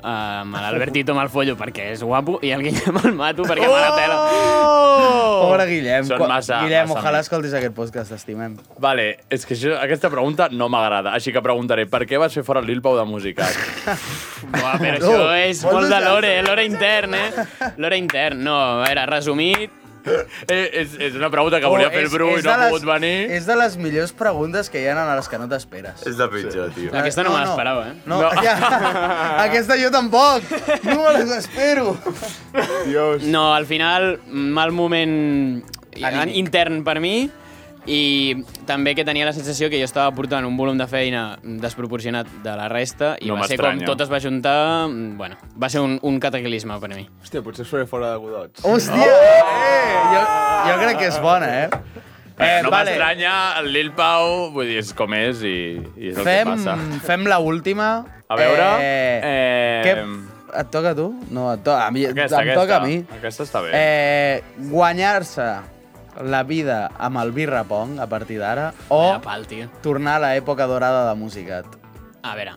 Speaker 8: eh, amb l'Albertito me'l follo perquè és guapo i el Guillem el mato perquè me la pela.
Speaker 5: Oh! Pobre Guillem.
Speaker 3: Són
Speaker 5: Qua-
Speaker 3: massa-
Speaker 5: Guillem,
Speaker 3: massa
Speaker 5: ojalà
Speaker 3: amics.
Speaker 5: escoltis aquest podcast, t'estimem.
Speaker 3: Vale, és que això, aquesta pregunta no m'agrada, així que preguntaré per què vas fer fora el Lil Pau de música?
Speaker 8: Buah, però això
Speaker 5: No,
Speaker 8: és
Speaker 5: vols
Speaker 8: molt de
Speaker 5: deixar-
Speaker 8: l'hora, eh? l'hora intern, eh? L'hora intern, no, a veure, resumit,
Speaker 3: eh, és, és una pregunta que volia
Speaker 5: Oh,
Speaker 3: fer el
Speaker 5: és-
Speaker 3: Bru i no
Speaker 5: és de
Speaker 3: ha
Speaker 5: les-
Speaker 3: pogut venir.
Speaker 5: És de les millors preguntes que hi ha a les que no t'esperes.
Speaker 6: És de pitjor, tio.
Speaker 8: aquesta no, me l'esperava, eh?
Speaker 5: No, ja, aquesta jo tampoc. No me les espero.
Speaker 6: Dios.
Speaker 8: No, al final, mal moment eh,
Speaker 5: Anímic.
Speaker 8: intern per mi i també que tenia la sensació que jo estava portant un volum de feina desproporcionat de la resta i
Speaker 3: No
Speaker 8: va ser com
Speaker 3: m'estranya.
Speaker 8: tot es va juntar, mm, bueno, va ser un, un cataclisme per mi.
Speaker 6: Hòstia, potser faré fora de Godots.
Speaker 5: Hòstia! Eh, jo, jo crec que és bona, eh?
Speaker 3: Eh, no m'estranya, el Lil Pau, vull dir, és com és i, i és el
Speaker 5: Fem,
Speaker 3: que passa.
Speaker 5: fem la última.
Speaker 3: A veure...
Speaker 5: Eh, eh,
Speaker 3: Eh,
Speaker 5: que, et toca a tu? No, et toca a mi.
Speaker 3: Aquesta,
Speaker 5: em
Speaker 3: aquesta.
Speaker 5: toca a mi.
Speaker 3: Aquesta està bé.
Speaker 5: Eh, Guanyar-se la vida amb el birra pong a partir d'ara o
Speaker 8: Era pal, tio.
Speaker 5: tornar a l'època dorada de Musicat.
Speaker 8: A veure,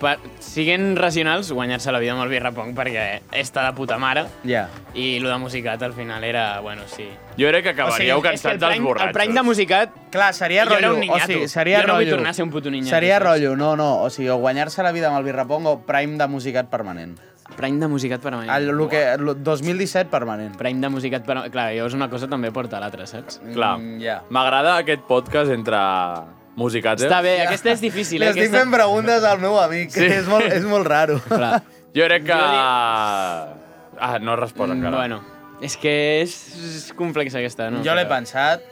Speaker 8: per, siguent racionals, guanyar-se la vida amb el birrapong perquè està de puta mare.
Speaker 5: Ja.
Speaker 8: I lo de musicat al final era, bueno, sí.
Speaker 3: Jo crec que acabaríeu
Speaker 8: és que
Speaker 3: cansats
Speaker 8: el
Speaker 3: dels
Speaker 8: prank-
Speaker 3: borratxos.
Speaker 8: El prank de musicat...
Speaker 5: Clar, seria
Speaker 8: Jo era un
Speaker 5: rotllo, o
Speaker 8: ninyato.
Speaker 5: sigui, seria
Speaker 8: jo no vull
Speaker 5: rotllo.
Speaker 8: tornar a ser un puto ninyato.
Speaker 5: Seria
Speaker 8: saps?
Speaker 5: rotllo, no, no. O sigui, o guanyar-se la vida amb el birrapong o prime de musicat permanent.
Speaker 8: Prime de musicat permanent.
Speaker 5: El, lo que, lo, 2017 permanent.
Speaker 8: Prime de musicat permanent. Clar, llavors una cosa també porta a l'altra, saps?
Speaker 3: Clar.
Speaker 5: Mm, ja.
Speaker 3: M'agrada aquest podcast entre musicats, eh?
Speaker 8: Està bé, aquesta és difícil,
Speaker 5: Li
Speaker 8: eh?
Speaker 5: estic
Speaker 8: Aquesta...
Speaker 5: fent preguntes al meu amic, sí. és, molt, és molt raro.
Speaker 8: Clar.
Speaker 3: Jo crec que... Ah, no respon
Speaker 5: Mm,
Speaker 3: encara.
Speaker 8: Bueno, és que és, és complexa aquesta, no?
Speaker 5: Jo l'he
Speaker 8: Però-
Speaker 5: pensat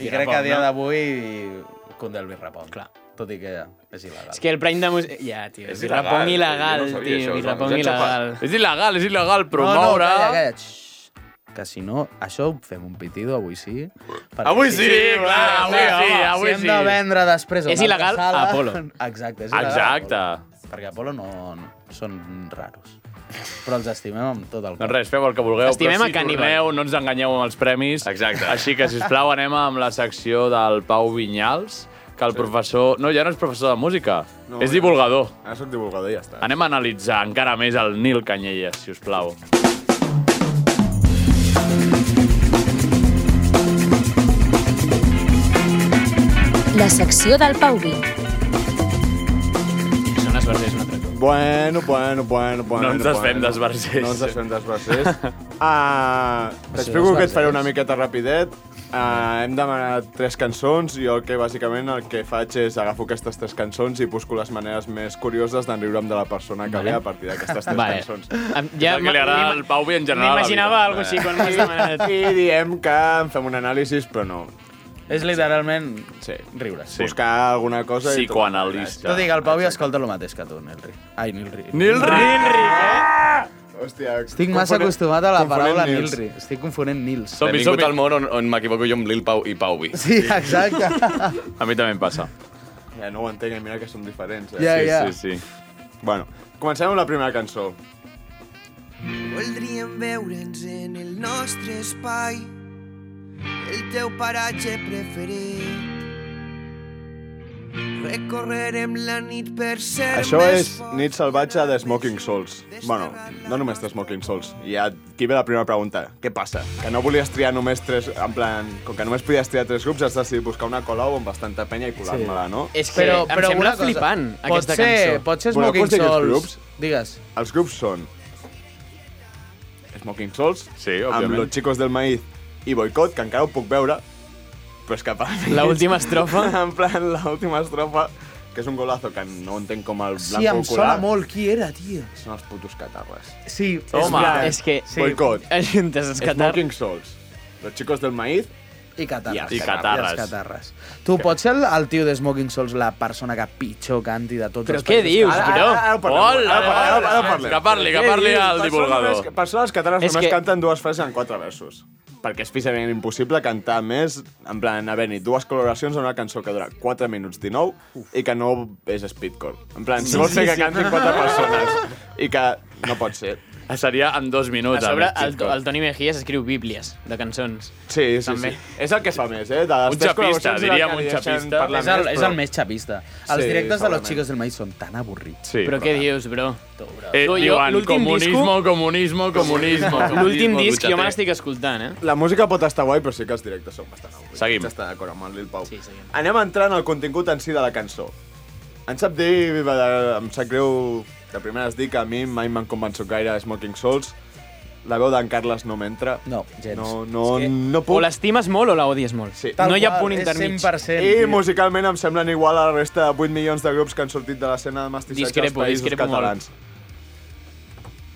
Speaker 5: i crec que a dia
Speaker 8: no?
Speaker 5: d'avui conté el birrapong.
Speaker 8: Clar.
Speaker 5: Tot i que és il·legal.
Speaker 8: És que el Prime de música... Ja, tio,
Speaker 3: És
Speaker 8: és birrapong
Speaker 3: il·legal,
Speaker 8: il·legal,
Speaker 3: jo no sabia això,
Speaker 8: tio, birrapong
Speaker 3: Joan.
Speaker 8: il·legal.
Speaker 3: És il·legal, és il·legal
Speaker 5: No, no,
Speaker 3: promoure...
Speaker 5: calla, calla. Xxxt. Que si no, això ho fem un pitido avui sí. Perquè
Speaker 3: Avui sí, clar,
Speaker 5: va,
Speaker 3: avui
Speaker 5: va,
Speaker 3: sí,
Speaker 5: va.
Speaker 3: avui
Speaker 5: si
Speaker 3: sí.
Speaker 5: hem de vendre
Speaker 8: És
Speaker 5: després... una altra
Speaker 8: il·legal
Speaker 5: sala-
Speaker 8: a Apolo.
Speaker 5: Exacte, és il·legal a
Speaker 3: Exacte.
Speaker 5: Apolo. Perquè Apolo no, no, són raros. Però els estimem amb tot el
Speaker 3: Doncs res, feu el que vulgueu,
Speaker 8: Estimem
Speaker 3: però
Speaker 8: a
Speaker 3: si
Speaker 8: Cannibal.
Speaker 3: torneu, no ens enganyeu amb els premis.
Speaker 6: Exacte.
Speaker 3: Així que, si us plau, anem amb la secció del Pau Vinyals, que el professor... No, ja no és professor de música,
Speaker 6: No,
Speaker 3: és
Speaker 6: ja.
Speaker 3: divulgador. Ah.
Speaker 6: Ara soc Ah, divulgador i ja està.
Speaker 3: Anem a analitzar encara més el Nil Canyelles, si us plau.
Speaker 1: La secció del Pauvi.
Speaker 8: Són les versions un altre cop.
Speaker 6: Bueno, bueno, bueno, bueno.
Speaker 3: No ens desfem
Speaker 6: bueno.
Speaker 3: d'esbarcers.
Speaker 6: No ens desfem d'esbarcers. Ah, T'explico que et faré una miqueta rapidet. Ah, hem demanat tres cançons i jo el que bàsicament el que faig és agafo aquestes tres cançons i busco les maneres més curioses d'enriure'm de la persona que
Speaker 8: Vale.
Speaker 6: ve a partir d'aquestes tres
Speaker 8: Vale. Ah,
Speaker 6: cançons.
Speaker 8: Em-
Speaker 3: Ja, és el que li agrada al Pau i en general.
Speaker 8: M'imaginava
Speaker 3: a la vida.
Speaker 8: alguna cosa així quan m'has demanat.
Speaker 6: I eh. diem que en fem un anàlisi, però no.
Speaker 5: programa. És literalment
Speaker 6: Sí.
Speaker 5: riure.
Speaker 6: sí. Buscar alguna cosa i...
Speaker 3: Psicoanalista.
Speaker 5: Tot i que el Pau ja escolta el mateix que tu, Nilri. Ai, Nilri.
Speaker 3: Nil Rick!
Speaker 6: eh. Hòstia,
Speaker 5: Estic massa
Speaker 6: confonent-
Speaker 5: acostumat a la
Speaker 6: confonent
Speaker 5: paraula
Speaker 6: Nils.
Speaker 5: Nilri. Estic confonent Nils.
Speaker 3: Som-hi, Benvingut som-hi. al món on, on m'equivoco jo amb Lil Pau i Pauvi.
Speaker 5: Sí, exacte.
Speaker 3: A mi també em passa.
Speaker 6: Ja no ho entenc, mira que som diferents. Eh?
Speaker 5: Ja,
Speaker 3: Sí, sí,
Speaker 5: ja.
Speaker 3: sí.
Speaker 6: Bueno, comencem amb la primera cançó.
Speaker 2: Voldríem veure'ns en el nostre espai, el teu paratge preferit. Recorrerem la nit per ser
Speaker 6: Això
Speaker 2: més
Speaker 6: és
Speaker 2: forts.
Speaker 6: Nit Salvatge de Smoking Souls. Bueno, no només de Smoking Souls. I aquí ve la primera pregunta. Què passa? Que no volies triar només tres... En plan, com que només podies triar tres grups, has decidit buscar una col·lau amb bastanta penya i colar-me-la, no?
Speaker 8: És que em
Speaker 5: una
Speaker 8: sembla
Speaker 5: cosa,
Speaker 8: flipant, aquesta
Speaker 5: pot ser,
Speaker 8: cançó.
Speaker 5: Pot ser
Speaker 6: Voleu
Speaker 5: Smoking
Speaker 6: que us digui els
Speaker 5: Souls.
Speaker 6: grups?
Speaker 5: Digues.
Speaker 6: Els grups són... Smoking Souls,
Speaker 3: Sí,
Speaker 6: amb
Speaker 3: òbviament.
Speaker 6: Los Chicos del Maíz i Boicot, que encara ho puc veure, però és que per mi...
Speaker 8: La última estrofa.
Speaker 6: en plan, l'última estrofa, que és un golazo que no entenc com el
Speaker 5: Sí, em
Speaker 6: blanco
Speaker 5: sona
Speaker 6: ocular.
Speaker 5: molt. Qui era, tio?
Speaker 6: Són els putos catarres.
Speaker 5: Sí, és
Speaker 3: Toma.
Speaker 5: veritat.
Speaker 8: És que...
Speaker 6: Sí. Boicot.
Speaker 8: Ajuntes a Qatar.
Speaker 6: Smoking Souls. Los chicos del maíz.
Speaker 5: I catarres.
Speaker 6: I
Speaker 3: catarres.
Speaker 5: I els catarres. Tu, pots ser el, el tio de Smoking Souls la persona que pitjor canti de tots
Speaker 8: Però
Speaker 5: els
Speaker 8: què
Speaker 5: països?
Speaker 8: dius, bro?
Speaker 6: Ara- ara- ara ho parlem,
Speaker 3: Hola,
Speaker 6: ara ho parlem, ara ho parlem.
Speaker 3: Que parli, que
Speaker 6: Què
Speaker 3: parli
Speaker 6: dius?
Speaker 3: el
Speaker 6: Per
Speaker 3: divulgador.
Speaker 6: sort només- Per sort els catalans
Speaker 8: És
Speaker 6: només
Speaker 8: que-
Speaker 6: canten dues frases en quatre versos. Perquè és físicament impossible cantar més, en plan, haver-hi dues coloracions en una cançó que dura 4 minuts 19 i que no és speedcore. En plan, si vols fer que cantin quatre persones i que no pot ser.
Speaker 3: Seria en dos
Speaker 8: A
Speaker 3: minuts.
Speaker 8: sobre,
Speaker 3: amic,
Speaker 8: el,
Speaker 3: Xisco.
Speaker 8: el Toni Mejías escriu bíblies de cançons.
Speaker 6: Sí, sí,
Speaker 8: També.
Speaker 6: sí. És el que fa més, eh? De les
Speaker 3: Un xapista,
Speaker 6: tres col·laboracions és el
Speaker 3: diríem
Speaker 6: que
Speaker 3: un
Speaker 6: li deixen
Speaker 3: xapista.
Speaker 6: parlar
Speaker 5: És el,
Speaker 6: més,
Speaker 5: és
Speaker 6: però-
Speaker 5: el més xapista. Els
Speaker 6: Sí,
Speaker 5: directes de
Speaker 6: segurament.
Speaker 5: los chicos del maíz són tan avorrits.
Speaker 3: Sí.
Speaker 8: Però què dius, bro?
Speaker 3: Eh,
Speaker 8: Tu, jo,
Speaker 3: diuen
Speaker 8: l'últim
Speaker 3: comunismo, comunismo, comunismo.
Speaker 8: L'últim
Speaker 3: comunismo,
Speaker 8: disc jo me
Speaker 3: dutxa't.
Speaker 8: l'estic escoltant, eh?
Speaker 6: La música pot estar guai, però sí que els directes són bastant avorrits.
Speaker 3: Seguim.
Speaker 6: Vaig estar d'acord amb el Lil Pau.
Speaker 8: Sí, seguim.
Speaker 6: Anem a entrar en el contingut en si de la cançó. Em sap dir, em sap greu, de primeres dir que a mi mai m'han convençut gaire Smoking Souls. La veu d'en Carles no m'entra.
Speaker 5: No, gens.
Speaker 6: No, no, no
Speaker 8: O
Speaker 6: puc.
Speaker 8: l'estimes molt o l'odies molt.
Speaker 6: Sí.
Speaker 8: No hi ha
Speaker 5: qual,
Speaker 8: punt
Speaker 5: és
Speaker 8: intermig.
Speaker 5: 100%.
Speaker 6: I
Speaker 5: tio.
Speaker 6: musicalment em semblen igual a la resta de 8 milions de grups que han sortit de l'escena de mestissatge
Speaker 8: Discrepo,
Speaker 6: als països
Speaker 8: discrepo molt.
Speaker 6: catalans.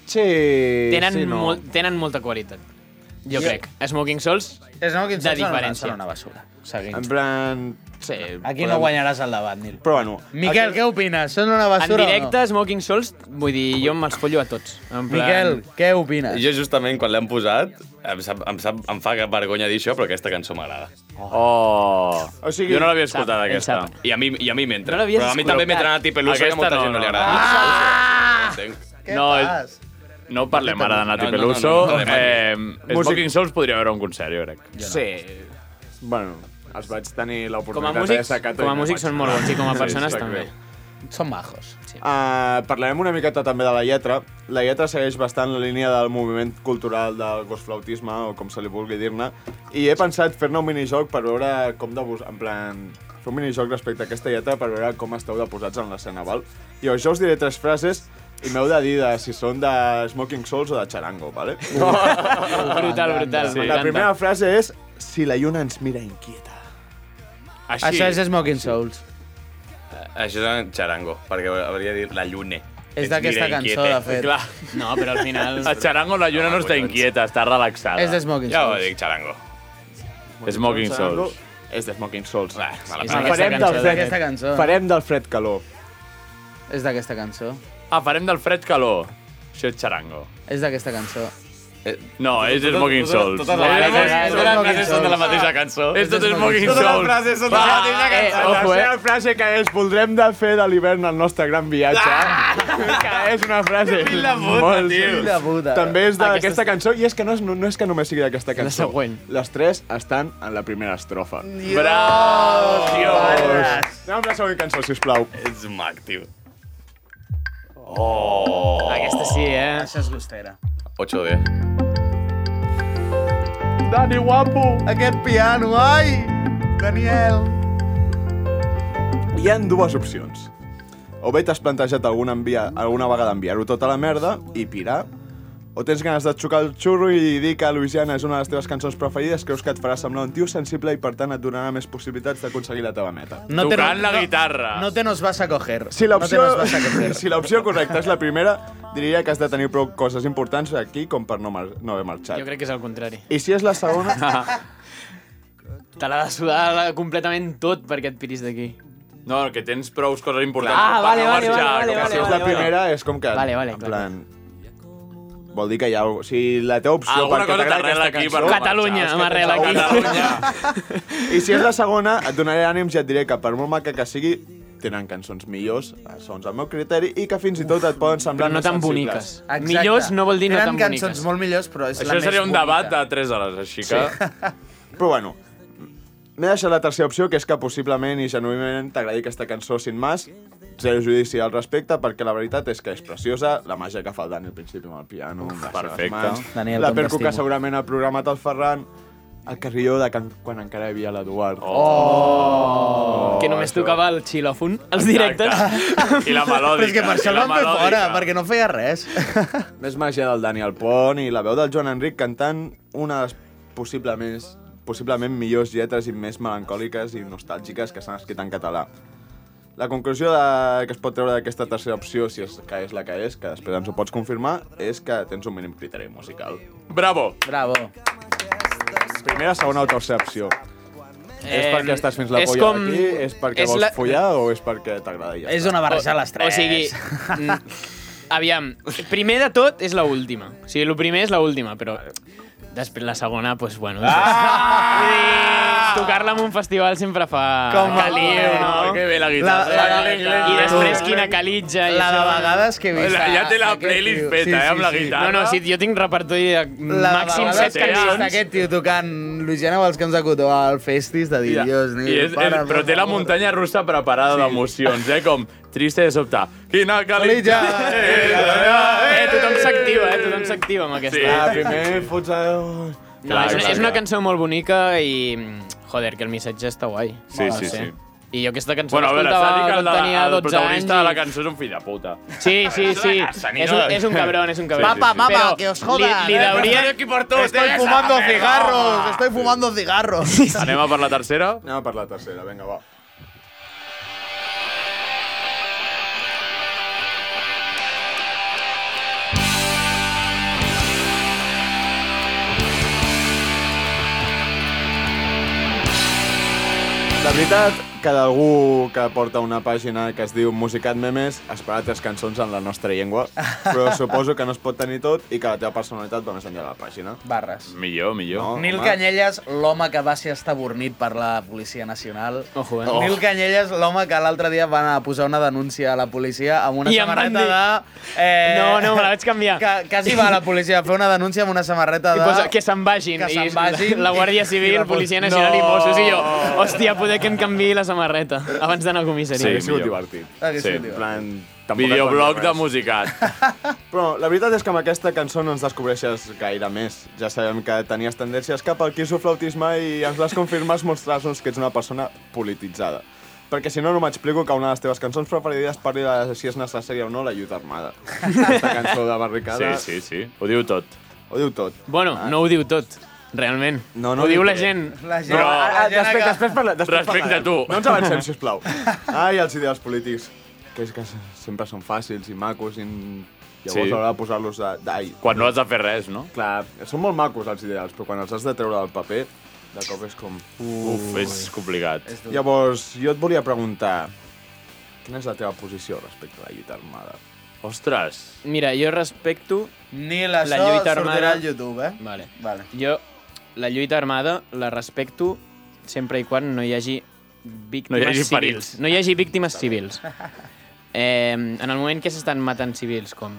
Speaker 6: Sí,
Speaker 8: Tenen,
Speaker 6: sí, no.
Speaker 8: molt, tenen molta qualitat. Jo,
Speaker 5: Jo-
Speaker 8: crec. Smoking Souls,
Speaker 5: És no, quins
Speaker 8: De
Speaker 5: són una,
Speaker 8: diferència.
Speaker 5: són una basura. Seguim.
Speaker 6: En plan... Sí,
Speaker 5: Aquí
Speaker 6: podem-
Speaker 5: no guanyaràs el debat, Nil.
Speaker 6: Però bueno...
Speaker 5: Miquel, què opines? Són una
Speaker 8: en
Speaker 5: basura
Speaker 8: directe, Smoking Souls, vull dir, jo me'ls follo a tots. En
Speaker 5: o no?
Speaker 8: plan,
Speaker 5: Miquel, què opines?
Speaker 3: Jo
Speaker 12: Justament quan l'han posat, em, sap, em, sap, em fa vergonya dir això, però aquesta cançó m'agrada.
Speaker 3: Oh.
Speaker 6: O sigui-
Speaker 3: jo no l'havia escoltat,
Speaker 8: Sap,
Speaker 3: aquesta.
Speaker 8: em
Speaker 12: I a mi, i a mi m'entra.
Speaker 8: No l'havies
Speaker 12: però a mi també
Speaker 8: escoltat.
Speaker 12: m'entra a ti pelusa, que a
Speaker 3: Aquesta
Speaker 12: molta
Speaker 3: no,
Speaker 12: gent no,
Speaker 3: no.
Speaker 12: li agrada.
Speaker 3: No, és- no parlem ara de Nati
Speaker 12: No, no, no,
Speaker 3: Peluso.
Speaker 12: no, no, no, no.
Speaker 3: Eh,
Speaker 6: Músic-
Speaker 3: Smoking Souls podria veure un concert, jo crec.
Speaker 6: Sí. Bueno, els vaig tenir
Speaker 8: com a
Speaker 6: l'oportunitat de
Speaker 8: músics,
Speaker 6: sacar
Speaker 8: com a músics són molt bons i com a persones
Speaker 6: sí,
Speaker 8: també.
Speaker 6: Sí,
Speaker 5: Són majos.
Speaker 6: Sí. Uh, parlarem una miqueta també de la lletra. La lletra segueix bastant la línia del moviment cultural del gosflautisme, o com se li vulgui dir-ne, i he pensat fer-ne un minijoc per veure com de... vos- En plan, fer un minijoc respecte a aquesta lletra per veure com esteu de posats en l'escena, val? I jo us diré tres frases i m'heu de dir de si són de Smoking Souls o de Charango, vale?
Speaker 8: Brutal, brutal,
Speaker 6: Sí. La
Speaker 8: m'encanta.
Speaker 6: primera frase és Si la lluna ens mira inquieta.
Speaker 5: Així. Això és Smoking Souls.
Speaker 12: Això és en xarango, perquè hauria dit la llune.
Speaker 5: És
Speaker 12: Ens
Speaker 5: d'aquesta
Speaker 12: mira
Speaker 5: cançó,
Speaker 12: inquieta.
Speaker 5: de fet.
Speaker 12: Clar.
Speaker 8: No, però al final...
Speaker 11: A Charango la lluna no, està inquieta, està relaxada.
Speaker 5: És de Smoking
Speaker 12: Ja ho
Speaker 5: Souls.
Speaker 12: dic, xarango.
Speaker 11: Smoking
Speaker 6: Charango
Speaker 11: Souls.
Speaker 6: És de Smoking Souls. Ah,
Speaker 5: és d'aquesta cançó, és d'aquesta cançó. eh?
Speaker 6: Farem del fred calor.
Speaker 5: És d'aquesta cançó.
Speaker 11: Ah, farem del fred calor. Això és Charango.
Speaker 5: És d'aquesta cançó.
Speaker 11: No, és
Speaker 12: totes-
Speaker 11: Smoking
Speaker 12: totes-
Speaker 11: Souls.
Speaker 12: totes les
Speaker 11: Eh,
Speaker 12: frases-
Speaker 11: eh, eh,
Speaker 12: totes les frases són de la mateixa cançó.
Speaker 11: És tot Smoking
Speaker 12: Totes les
Speaker 11: Soules.
Speaker 12: frases són de la
Speaker 11: Va,
Speaker 12: mateixa
Speaker 11: eh,
Speaker 12: cançó.
Speaker 6: La
Speaker 11: Ojo, eh?
Speaker 6: seva frase que és voldrem de fer de l'hivern el nostre gran viatge. Que és una frase
Speaker 12: Fill de puta,
Speaker 6: molt...
Speaker 12: tio. Fill de puta.
Speaker 6: També és
Speaker 12: Aquesta
Speaker 6: d'aquesta
Speaker 12: és-
Speaker 6: cançó, i és que no és, no és que només sigui d'aquesta cançó. La següent. Les tres estan en la primera estrofa.
Speaker 12: Bravo, tio.
Speaker 6: Anem amb la següent cançó, sisplau.
Speaker 12: Ets mac, tio. Oh.
Speaker 8: Aquesta sí, eh?
Speaker 5: Això és gustera.
Speaker 12: 8D.
Speaker 5: Dani, guapo! Aquest piano, ai! Daniel!
Speaker 6: Hi han dues opcions. O bé t'has plantejat alguna, envia, alguna vegada enviar-ho tot a la merda i pirar, o tens ganes de xocar el xurro i dir que Louisiana és una de les teves cançons preferides, creus que et farà semblar un tio sensible i per tant et donarà més possibilitats d'aconseguir la teva meta.
Speaker 5: te- No te nos vas a coger.
Speaker 6: Si l'opció
Speaker 5: No te nos vas a coger.
Speaker 6: si l'opció correcta és la primera, diria que has de tenir prou coses importants aquí com per no, mar no haver marxat.
Speaker 8: Jo crec que és el contrari.
Speaker 6: I si és la segona...
Speaker 8: Te l'ha de sudar la- completament tot perquè et piris d'aquí.
Speaker 11: No, que tens prou coses importants.
Speaker 8: Ah,
Speaker 11: per
Speaker 8: vale,
Speaker 11: no
Speaker 8: vale,
Speaker 11: marxar,
Speaker 8: vale,
Speaker 11: com
Speaker 8: vale,
Speaker 11: que
Speaker 8: vale,
Speaker 6: si és
Speaker 8: vale,
Speaker 6: la
Speaker 8: vale.
Speaker 6: primera, és com que...
Speaker 8: Vale, vale,
Speaker 6: en
Speaker 8: clar.
Speaker 6: plan... Vol dir que hi ha... O sigui, la teva opció...
Speaker 11: Alguna
Speaker 6: perquè
Speaker 11: cosa
Speaker 6: t'agrada
Speaker 11: t'arrela
Speaker 6: aquesta
Speaker 11: aquí,
Speaker 6: cançó-
Speaker 11: per Catalunya,
Speaker 6: és que
Speaker 11: m'arrela
Speaker 6: tens
Speaker 11: aquí.
Speaker 6: alguna- I si és la segona, et donaré ànims i et diré que per molt maca que sigui, tenen cançons millors, eh, segons el meu criteri, i que fins i tot et poden semblar
Speaker 8: però no
Speaker 6: més
Speaker 8: tan
Speaker 6: sensibles.
Speaker 8: boniques. Millors no vol dir no
Speaker 5: Tenen
Speaker 8: tan
Speaker 5: cançons
Speaker 8: boniques.
Speaker 5: molt millors, però és la
Speaker 11: Això
Speaker 5: més
Speaker 11: seria un
Speaker 5: bonica.
Speaker 11: debat de 3 hores, així que... Sí.
Speaker 6: Però bueno, m'he deixat la tercera opció, que és que possiblement i genuïment t'agradi aquesta cançó sin más, zero judici al respecte, perquè la veritat és que és preciosa, la màgia que fa el Dani al principi amb el piano, amb les
Speaker 11: Perfecte.
Speaker 6: seves mans,
Speaker 5: Daniel,
Speaker 6: la
Speaker 5: com
Speaker 6: perco
Speaker 5: t'estimo.
Speaker 6: que segurament ha programat el Ferran, el carrilló de can... quan encara hi havia l'Eduard.
Speaker 8: Oh! Que només tocava el xilòfon als directes.
Speaker 11: I la melòdica.
Speaker 5: Però és que per això el
Speaker 11: i la
Speaker 5: van fer
Speaker 11: melòdica.
Speaker 5: fora, perquè no feia res.
Speaker 6: Més màgia del Daniel Pont i la veu del Joan Enric cantant una de les possiblement, possiblement millors lletres i més melancòliques i nostàlgiques que s'han escrit en català. La conclusió de, que es pot treure d'aquesta tercera opció, si és que és la que és, que després ens ho pots confirmar, és que tens un mínim criteri musical.
Speaker 11: Bravo.
Speaker 5: Bravo.
Speaker 6: Primera, segona o tercera opció. Eh, és
Speaker 8: Em,
Speaker 6: perquè estàs fins la
Speaker 8: és
Speaker 6: polla
Speaker 8: com-
Speaker 6: d'aquí? És perquè
Speaker 8: és
Speaker 6: vols
Speaker 8: la-
Speaker 6: follar o és perquè t'agrada? i Ja
Speaker 5: És
Speaker 6: està?
Speaker 5: una barreja de les tres.
Speaker 8: O sigui, mm, aviam, primer de tot és la última. O sigui, el primer és la última, però després la segona, doncs, pues, bueno... Ah! Tocar-la en un festival sempre fa
Speaker 5: Com a-
Speaker 8: caliu, no?
Speaker 11: Que bé la guitarra.
Speaker 5: La- la-
Speaker 8: I després quina calitja. i
Speaker 5: La de
Speaker 8: això.
Speaker 5: vegades que he vist...
Speaker 11: Ja té la
Speaker 5: aquest
Speaker 11: playlist
Speaker 5: tio.
Speaker 11: feta,
Speaker 5: Sí,
Speaker 11: eh,
Speaker 5: sí,
Speaker 11: amb la
Speaker 5: sí.
Speaker 11: guitarra.
Speaker 8: No, no, sí, jo tinc repertori de
Speaker 5: La
Speaker 8: màxim
Speaker 5: vegada
Speaker 8: set
Speaker 5: que he vist
Speaker 8: cançons.
Speaker 5: Aquest tio tocant Luciana Balscans de Cotó al Festis de dir,
Speaker 11: Ja.
Speaker 5: Dios,
Speaker 11: I
Speaker 5: ni,
Speaker 11: és, és, però té la muntanya russa preparada d'emocions, eh? Com triste de sobte. Quina calitja!
Speaker 8: Eh, tothom s'activa, eh? Tothom s'activa amb aquesta.
Speaker 11: Sí,
Speaker 6: Ah,
Speaker 11: sí, sí.
Speaker 6: primer fots el...
Speaker 8: No, és, una, és una cançó molt bonica i... Joder, que el missatge està guai.
Speaker 11: Sí,
Speaker 8: No
Speaker 11: sí,
Speaker 8: sé.
Speaker 11: sí.
Speaker 8: I jo aquesta cançó
Speaker 11: Bueno, a veure, s'ha de
Speaker 8: l'escoltava
Speaker 11: dir que el,
Speaker 8: quan
Speaker 11: de,
Speaker 8: tenia
Speaker 11: el
Speaker 8: 12 anys.
Speaker 11: protagonista de la
Speaker 8: i-
Speaker 11: cançó Ah, és un fill de puta.
Speaker 8: Sí, sí, sí.
Speaker 12: sanino.
Speaker 8: És un, és un cabrón, és un cabrón.
Speaker 5: Papa,
Speaker 8: Però
Speaker 5: papa, que Eh? os jodan.
Speaker 8: Li, li deuria...
Speaker 12: Estoy aquí por todo.
Speaker 5: Estoy fumando cigarros, estoy fumando cigarros.
Speaker 11: Anem a per la tercera?
Speaker 6: Anem a per la tercera, vinga, va. La veritat que d'algú que porta una pàgina que es diu Musicat Memes esperar tres cançons en la nostra llengua, però suposo que no es pot tenir tot i que la teva personalitat va més enllà de la pàgina.
Speaker 5: Barres.
Speaker 11: Millor, millor.
Speaker 8: Oh,
Speaker 6: No,
Speaker 5: Nil
Speaker 6: home.
Speaker 5: Canyelles, l'home que va ser estabornit per la Policia Nacional.
Speaker 8: Ojo, eh?
Speaker 5: Oh. Nil Canyelles, l'home que l'altre dia va anar a posar una denúncia a la policia amb una
Speaker 8: I em van
Speaker 5: samarreta de... Eh,
Speaker 8: No, no, me la vaig canviar.
Speaker 5: Que, quasi va a la policia a fer una denúncia amb una samarreta
Speaker 8: I
Speaker 5: de...
Speaker 8: posa, que se'n vagin.
Speaker 5: Que se'n
Speaker 8: I
Speaker 5: vagin.
Speaker 8: La Guàrdia
Speaker 5: I
Speaker 8: Civil,
Speaker 5: la
Speaker 8: Policia Nacional
Speaker 5: No.
Speaker 8: i Mossos. I jo, hòstia, poder que em canviï la samarreta abans d'anar a comissaria.
Speaker 6: Hauria sigut divertit.
Speaker 5: Hauria
Speaker 6: Sí,
Speaker 5: sigut
Speaker 6: en
Speaker 5: divertit.
Speaker 6: plan, tampoc et
Speaker 11: Videoblog
Speaker 6: van dir
Speaker 11: de
Speaker 6: res.
Speaker 11: musicat.
Speaker 6: Però la veritat és que amb aquesta cançó no ens descobreixes gaire més. Ja sabem que tenies tendències cap al quisoflautisme i ens les confirmes mostrant-nos que ets una persona polititzada. Perquè si no, no m'explico que una de les teves cançons preferides parli de si és necessària o no la lluita armada. Aquesta cançó de barricada...
Speaker 11: Sí, sí, sí. Ho diu tot.
Speaker 6: Ho diu tot.
Speaker 8: Bueno, no ho diu tot, realment.
Speaker 6: Ah. No,
Speaker 8: ho diu la gent.
Speaker 5: La
Speaker 6: No, ah, ah, després, després, parla, després
Speaker 8: Respecte
Speaker 6: parlarem.
Speaker 8: a tu.
Speaker 6: No ens avancem, sisplau. Ai, els ideals polítics. Que és que sempre són fàcils i macos i llavors
Speaker 11: Sí.
Speaker 6: sí. haurà de posar-los de... de ai,
Speaker 11: Quan no has de fer res, no?
Speaker 6: Clar, són molt macos els ideals, però quan els has de treure del paper, de cop és com...
Speaker 11: Uf, és complicat. És dur.
Speaker 6: Llavors, jo et volia preguntar, quina és la teva posició respecte a la lluita armada?
Speaker 11: Ostres!
Speaker 8: Mira, jo respecto
Speaker 5: Nil,
Speaker 8: la
Speaker 5: això
Speaker 8: lluita
Speaker 5: sortirà
Speaker 8: armada...
Speaker 5: al YouTube, eh?
Speaker 8: Vale.
Speaker 5: Vale.
Speaker 8: Jo la lluita armada la respecto sempre i quan no hi hagi víctimes
Speaker 11: hagi
Speaker 8: civils.
Speaker 11: ferits.
Speaker 8: No hi hagi víctimes civils. Eh, en el moment que s'estan matant civils, com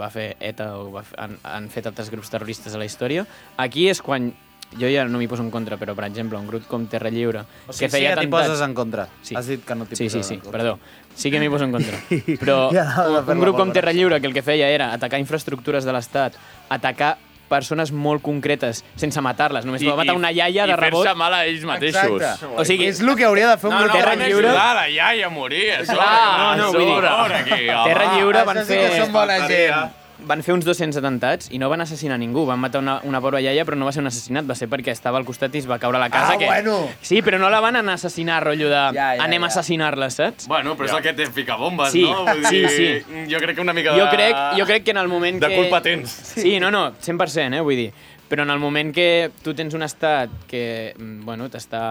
Speaker 8: va fer ETA o va fer, han, han fet altres grups terroristes a la història, aquí és quan jo ja no m'hi poso en contra, però, per exemple, un grup com Terra Lliure...
Speaker 5: O sigui, sí que t'hi poses en contra. Has dit que no t'hi
Speaker 8: sí, sí,
Speaker 5: posaràs
Speaker 8: sí,
Speaker 5: en contra.
Speaker 8: perdó. Sí que m'hi poso en contra. Però
Speaker 5: Ja anava a
Speaker 8: un,
Speaker 5: fer
Speaker 8: un
Speaker 5: la
Speaker 8: grup com
Speaker 5: valoració.
Speaker 8: Terra Lliure que el que feia era atacar infraestructures de l'Estat, atacar persones molt concretes, sense matar-les. Només
Speaker 11: I-
Speaker 8: va matar
Speaker 11: i-
Speaker 8: una iaia de
Speaker 11: i fer-se
Speaker 8: rebot.
Speaker 11: mal a ells mateixos. Exacte.
Speaker 8: O sigui,
Speaker 5: És el que hauria de fer un
Speaker 8: No,
Speaker 5: grup
Speaker 8: no,
Speaker 5: de
Speaker 8: van
Speaker 5: ràdio.
Speaker 8: ajudar
Speaker 12: Ah, la iaia moria, a sobre.
Speaker 8: Clar, no, no,
Speaker 12: a
Speaker 8: vull dir-
Speaker 12: sobre. Aquí, home.
Speaker 8: Terra Lliure van
Speaker 5: Això sí
Speaker 8: fer...
Speaker 5: que són bona gent.
Speaker 8: Van fer uns 200 atentats i no van assassinar ningú. Van matar una, una pobra iaia, però no va ser un assassinat. Va ser perquè estava al costat i es va caure a la casa.
Speaker 5: Ah,
Speaker 8: que...
Speaker 5: bueno.
Speaker 8: Sí, però no la van anar a assassinar, rotllo de... Ja,
Speaker 5: ja,
Speaker 8: ja, anem
Speaker 5: ja.
Speaker 8: a assassinar-la, saps?
Speaker 12: Bueno, però és el que té ficar bombes,
Speaker 8: Sí,
Speaker 12: no? Vull dir,
Speaker 8: sí, sí.
Speaker 12: Jo crec que una mica de...
Speaker 8: Jo crec, jo crec que en el moment
Speaker 12: de
Speaker 8: que...
Speaker 12: culpa tens.
Speaker 8: Sí, no, no, 100%, eh, vull dir. Però en el moment que tu tens un estat que mm, bueno, t'està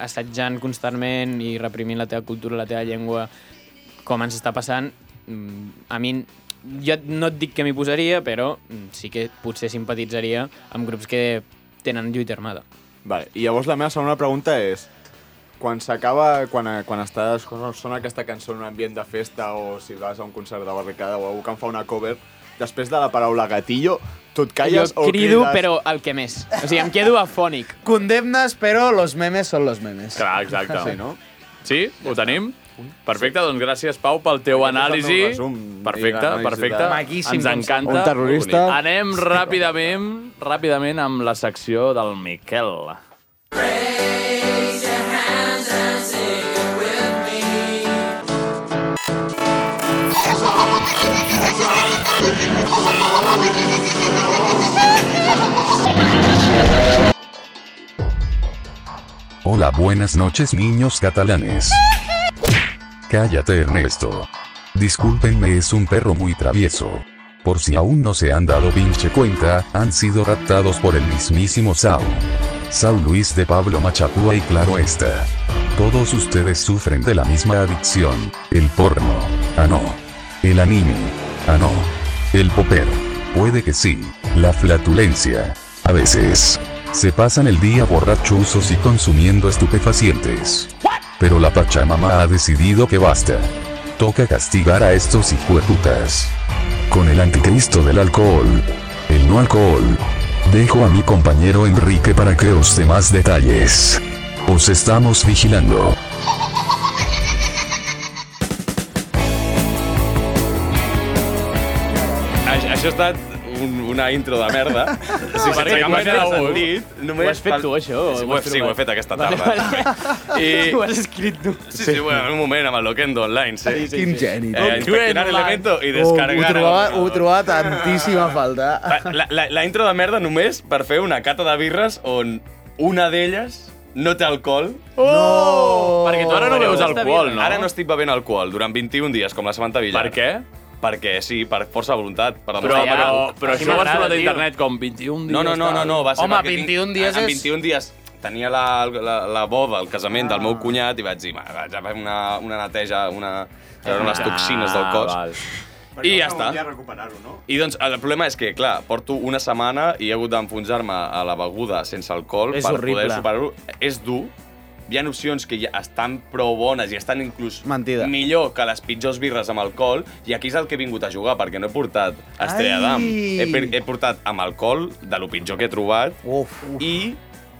Speaker 8: assetjant constantment i reprimint la teva cultura, la teva llengua, com ens està passant, mm, a mi jo no et dic que m'hi posaria, però mm, sí que potser simpatitzaria amb grups que tenen lluita armada.
Speaker 6: Vale, i llavors la meva segona pregunta és, quan s'acaba, quan, eh, quan estàs, quan sona aquesta cançó en un ambient de festa o si vas a un concert de barricada o algú que en fa una cover, després de la paraula gatillo, tu et calles
Speaker 8: jo
Speaker 6: o
Speaker 8: crido,
Speaker 6: crides...
Speaker 8: però el que més. O sigui, em quedo afònic.
Speaker 5: Condemnes, però los memes són los memes.
Speaker 11: Clar, exacte.
Speaker 6: Sí, no?
Speaker 11: Sí, ho tenim? Perfecte, doncs gràcies, Pau, pel teu
Speaker 6: Aquest és el
Speaker 11: anàlisi.
Speaker 6: meu resum i
Speaker 11: Perfecte,
Speaker 6: l'anàlisi
Speaker 11: perfecte.
Speaker 6: de-
Speaker 5: Maquíssim,
Speaker 11: Ens
Speaker 5: com
Speaker 11: encanta.
Speaker 6: Un terrorista.
Speaker 11: Bonic. Anem ràpidament, ràpidament amb la secció del Miquel.
Speaker 13: Hola, buenas noches niños catalanes. Cállate Ernesto. Discúlpenme, es un perro muy travieso. Por si aún no se han dado pinche cuenta, han sido raptados por el mismísimo Sao. Sao Luis de Pablo Machacúa y claro está. Todos ustedes sufren de la misma adicción, el porno. Ah no. El anime. Ah no. El popper. Puede que sí. La flatulencia. A veces. Se pasan el día borrachuzos y consumiendo estupefacientes. Pero la Pachamama ha decidido que basta. Toca castigar a estos hijueputas. Con el anticristo del alcohol. El no alcohol. Dejo a mi compañero Enrique para que os dé más detalles. Os estamos vigilando.
Speaker 12: A- Això ha estat un, una intro de merda. Sí,
Speaker 11: Perquè ho has fet tu. Ho has fet tu, això, o
Speaker 12: Sí,
Speaker 11: ho
Speaker 12: ho,
Speaker 11: has
Speaker 12: he, sí, ho he
Speaker 11: trobat?
Speaker 12: fet aquesta
Speaker 11: Vale,
Speaker 12: tarda. I...
Speaker 8: Ho has
Speaker 11: eh,
Speaker 8: escrit tu.
Speaker 12: Sí, sí, bueno, en un moment amb el Loquendo Online, sí. sí, sí
Speaker 5: Quin geni.
Speaker 12: Eh, inspeccionar el elemento
Speaker 11: Oh,
Speaker 12: i descargar...
Speaker 5: Ho, ho, trobava,
Speaker 12: el-
Speaker 5: ho trobava tantíssima falta.
Speaker 12: La, la, la intro de merda només per fer una cata de birres on una d'elles no té alcohol.
Speaker 11: Oh! Perquè tu ara no
Speaker 12: Però
Speaker 11: veus alcohol, no?
Speaker 12: Ara no estic bevent alcohol durant 21 dies, com la Samantha Villar.
Speaker 11: Per què?
Speaker 12: Perquè sí, per força de voluntat. Per
Speaker 11: Però,
Speaker 12: demostrar-
Speaker 11: però, però
Speaker 12: Així
Speaker 11: això ho has
Speaker 12: m'agrada,
Speaker 11: trobat a
Speaker 12: tio.
Speaker 11: internet com 21 dies.
Speaker 12: No, no, no, no, no va ser
Speaker 11: Home,
Speaker 12: perquè tinc-
Speaker 11: 21 dies
Speaker 12: en, en
Speaker 11: és...
Speaker 12: 21 dies tenia la, la, la boda, el casament del
Speaker 11: Ah.
Speaker 12: meu cunyat i vaig dir, "Va, vaig a fer una, una neteja, una, treure eh, unes
Speaker 11: Ah,
Speaker 12: toxines del cos.
Speaker 11: val.
Speaker 12: I ja està.
Speaker 6: recuperar-ho, no?
Speaker 12: I doncs el problema és que, clar, porto una setmana i he hagut d'enfonsar-me a la beguda sense alcohol
Speaker 5: És
Speaker 12: per
Speaker 5: horrible.
Speaker 12: poder superar-ho. És dur. Hi ha opcions que ja estan prou bones i estan inclús
Speaker 5: Mentida.
Speaker 12: millor que les pitjors birres amb alcohol i aquí és el que he vingut a jugar perquè no he portat Estrella d'Am.
Speaker 5: Ai!
Speaker 12: He, per- he portat amb alcohol de lo pitjor que he trobat uf,
Speaker 5: Mm.
Speaker 12: uf. i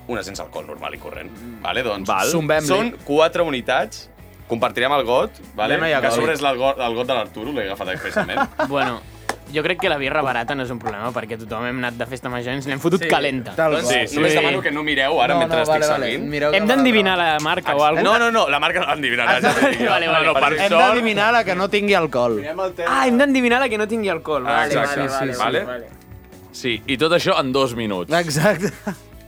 Speaker 12: una sense alcohol normal i corrent. Vale, doncs,
Speaker 5: Zumbem-li.
Speaker 12: Són quatre unitats Compartirem el got, vale?
Speaker 8: Anem allà,
Speaker 12: que a sobre
Speaker 8: vale.
Speaker 12: és el got, el got de l'Arturo, l'he agafat expressament.
Speaker 8: Bueno, jo crec que la birra barata no és un problema, perquè tothom hem anat de festa major i ens n'hem fotut
Speaker 12: Sí,
Speaker 8: calenta.
Speaker 12: tal Doncs qual. sí, només demano que no mireu ara No, mentre no, estic vale, vale. servint. Mireu
Speaker 8: Hem
Speaker 12: que
Speaker 8: d'endivinar la marca o alguna
Speaker 12: No, no, no, la marca no l'endivinarà. ja t'ho dic jo.
Speaker 8: Vale, vale.
Speaker 12: No, no, per
Speaker 5: Hem
Speaker 12: sort-
Speaker 5: d'eliminar la que no tingui alcohol.
Speaker 8: Ah, hem d'endivinar la que no tingui alcohol.
Speaker 12: Ah,
Speaker 8: Vale,
Speaker 12: exacte,
Speaker 8: vale,
Speaker 12: sí,
Speaker 8: vale,
Speaker 12: sí,
Speaker 8: vale.
Speaker 12: sí.
Speaker 8: vale.
Speaker 3: Sí, i tot això en dos minuts.
Speaker 5: Exacte.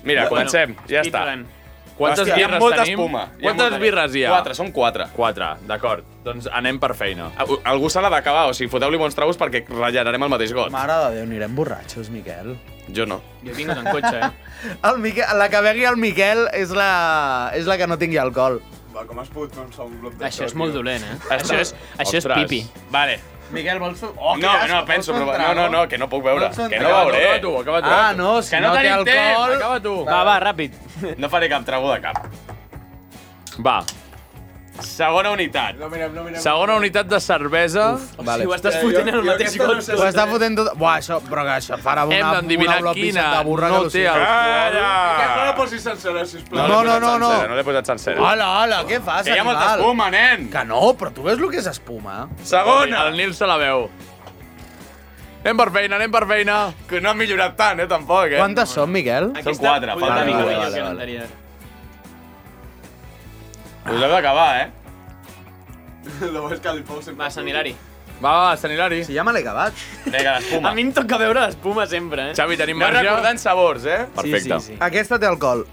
Speaker 12: Mira,
Speaker 3: Bueno,
Speaker 12: comencem, ja
Speaker 3: i
Speaker 12: està.
Speaker 8: doncs.
Speaker 3: tant. Quantes
Speaker 12: Hòstia, hi ha
Speaker 3: birres
Speaker 12: molta
Speaker 3: tenim?
Speaker 12: espuma, hi ha
Speaker 3: Quantes
Speaker 12: molta-
Speaker 3: birres hi ha?
Speaker 12: Quatre, són quatre.
Speaker 3: Quatre, d'acord. Doncs anem per feina.
Speaker 12: Al- Algú s'ha d'acabar, o sigui, foteu-li bons tragos perquè rellenarem el mateix got.
Speaker 5: Mare de Déu, anirem borratxos, Miquel.
Speaker 12: Jo no.
Speaker 8: Jo tinc en cotxe, eh?
Speaker 5: El Miquel, la que begui el Miquel és la, és la que no tingui alcohol.
Speaker 6: Va, com has pogut començar un bloc
Speaker 8: Això és molt dolent, eh? Això és, això és
Speaker 12: Ostres.
Speaker 8: pipi.
Speaker 12: Vale.
Speaker 5: Miquel, vols tu?
Speaker 12: Oh, no, no, penso, però... No, no, no, que no puc veure.
Speaker 8: Vols un
Speaker 12: Que no
Speaker 8: trago?
Speaker 12: veuré.
Speaker 8: Acaba tu, acaba tu. Ah, no, si
Speaker 12: Que
Speaker 8: no té
Speaker 12: tenim
Speaker 8: alcohol-
Speaker 12: temps.
Speaker 8: Acaba tu. Va, va, ràpid.
Speaker 12: No faré cap trago de cap.
Speaker 3: Va.
Speaker 12: Segona unitat.
Speaker 6: No mirem, no mirem.
Speaker 3: Segona unitat de cervesa. Uf,
Speaker 5: vale. Eh,
Speaker 3: got.
Speaker 5: Ho estàs fotent tot... Buah, això, però que això farà una,
Speaker 3: Hem d'endevinar
Speaker 5: una blop
Speaker 3: quina
Speaker 5: de burra
Speaker 3: no
Speaker 5: que
Speaker 3: té
Speaker 5: al...
Speaker 3: alcohol.
Speaker 6: Miquel, no la posis sencera, sisplau.
Speaker 5: No, no, no, no.
Speaker 12: Ah, No l'he posat sencera.
Speaker 5: Hola, hola, què fas,
Speaker 12: Que hi ha molta
Speaker 5: animal?
Speaker 12: espuma, nen.
Speaker 5: Que no, però tu veus el que és espuma?
Speaker 12: Segona.
Speaker 3: El Nil se la veu. Anem per feina, anem per feina.
Speaker 12: Que no ha millorat tant, eh, tampoc, eh?
Speaker 5: Quantes són, Miquel?
Speaker 12: Són quatre,
Speaker 8: vull
Speaker 12: falta
Speaker 8: una mica
Speaker 12: ningú.
Speaker 8: millor que l'anterior.
Speaker 12: Us heu d'acabar, eh?
Speaker 6: Lo bo és que li fou sempre...
Speaker 8: Va, Sant Hilari.
Speaker 3: Va, va, Sant Hilari.
Speaker 5: Si ja me l'he acabat.
Speaker 12: Vinga, l'espuma.
Speaker 8: A mi em toca veure l'espuma sempre, eh?
Speaker 3: Xavi, tenim
Speaker 12: Anem
Speaker 3: marge.
Speaker 12: recordant sabors, eh?
Speaker 3: Perfecte.
Speaker 8: Sí, sí,
Speaker 5: Aquesta té alcohol.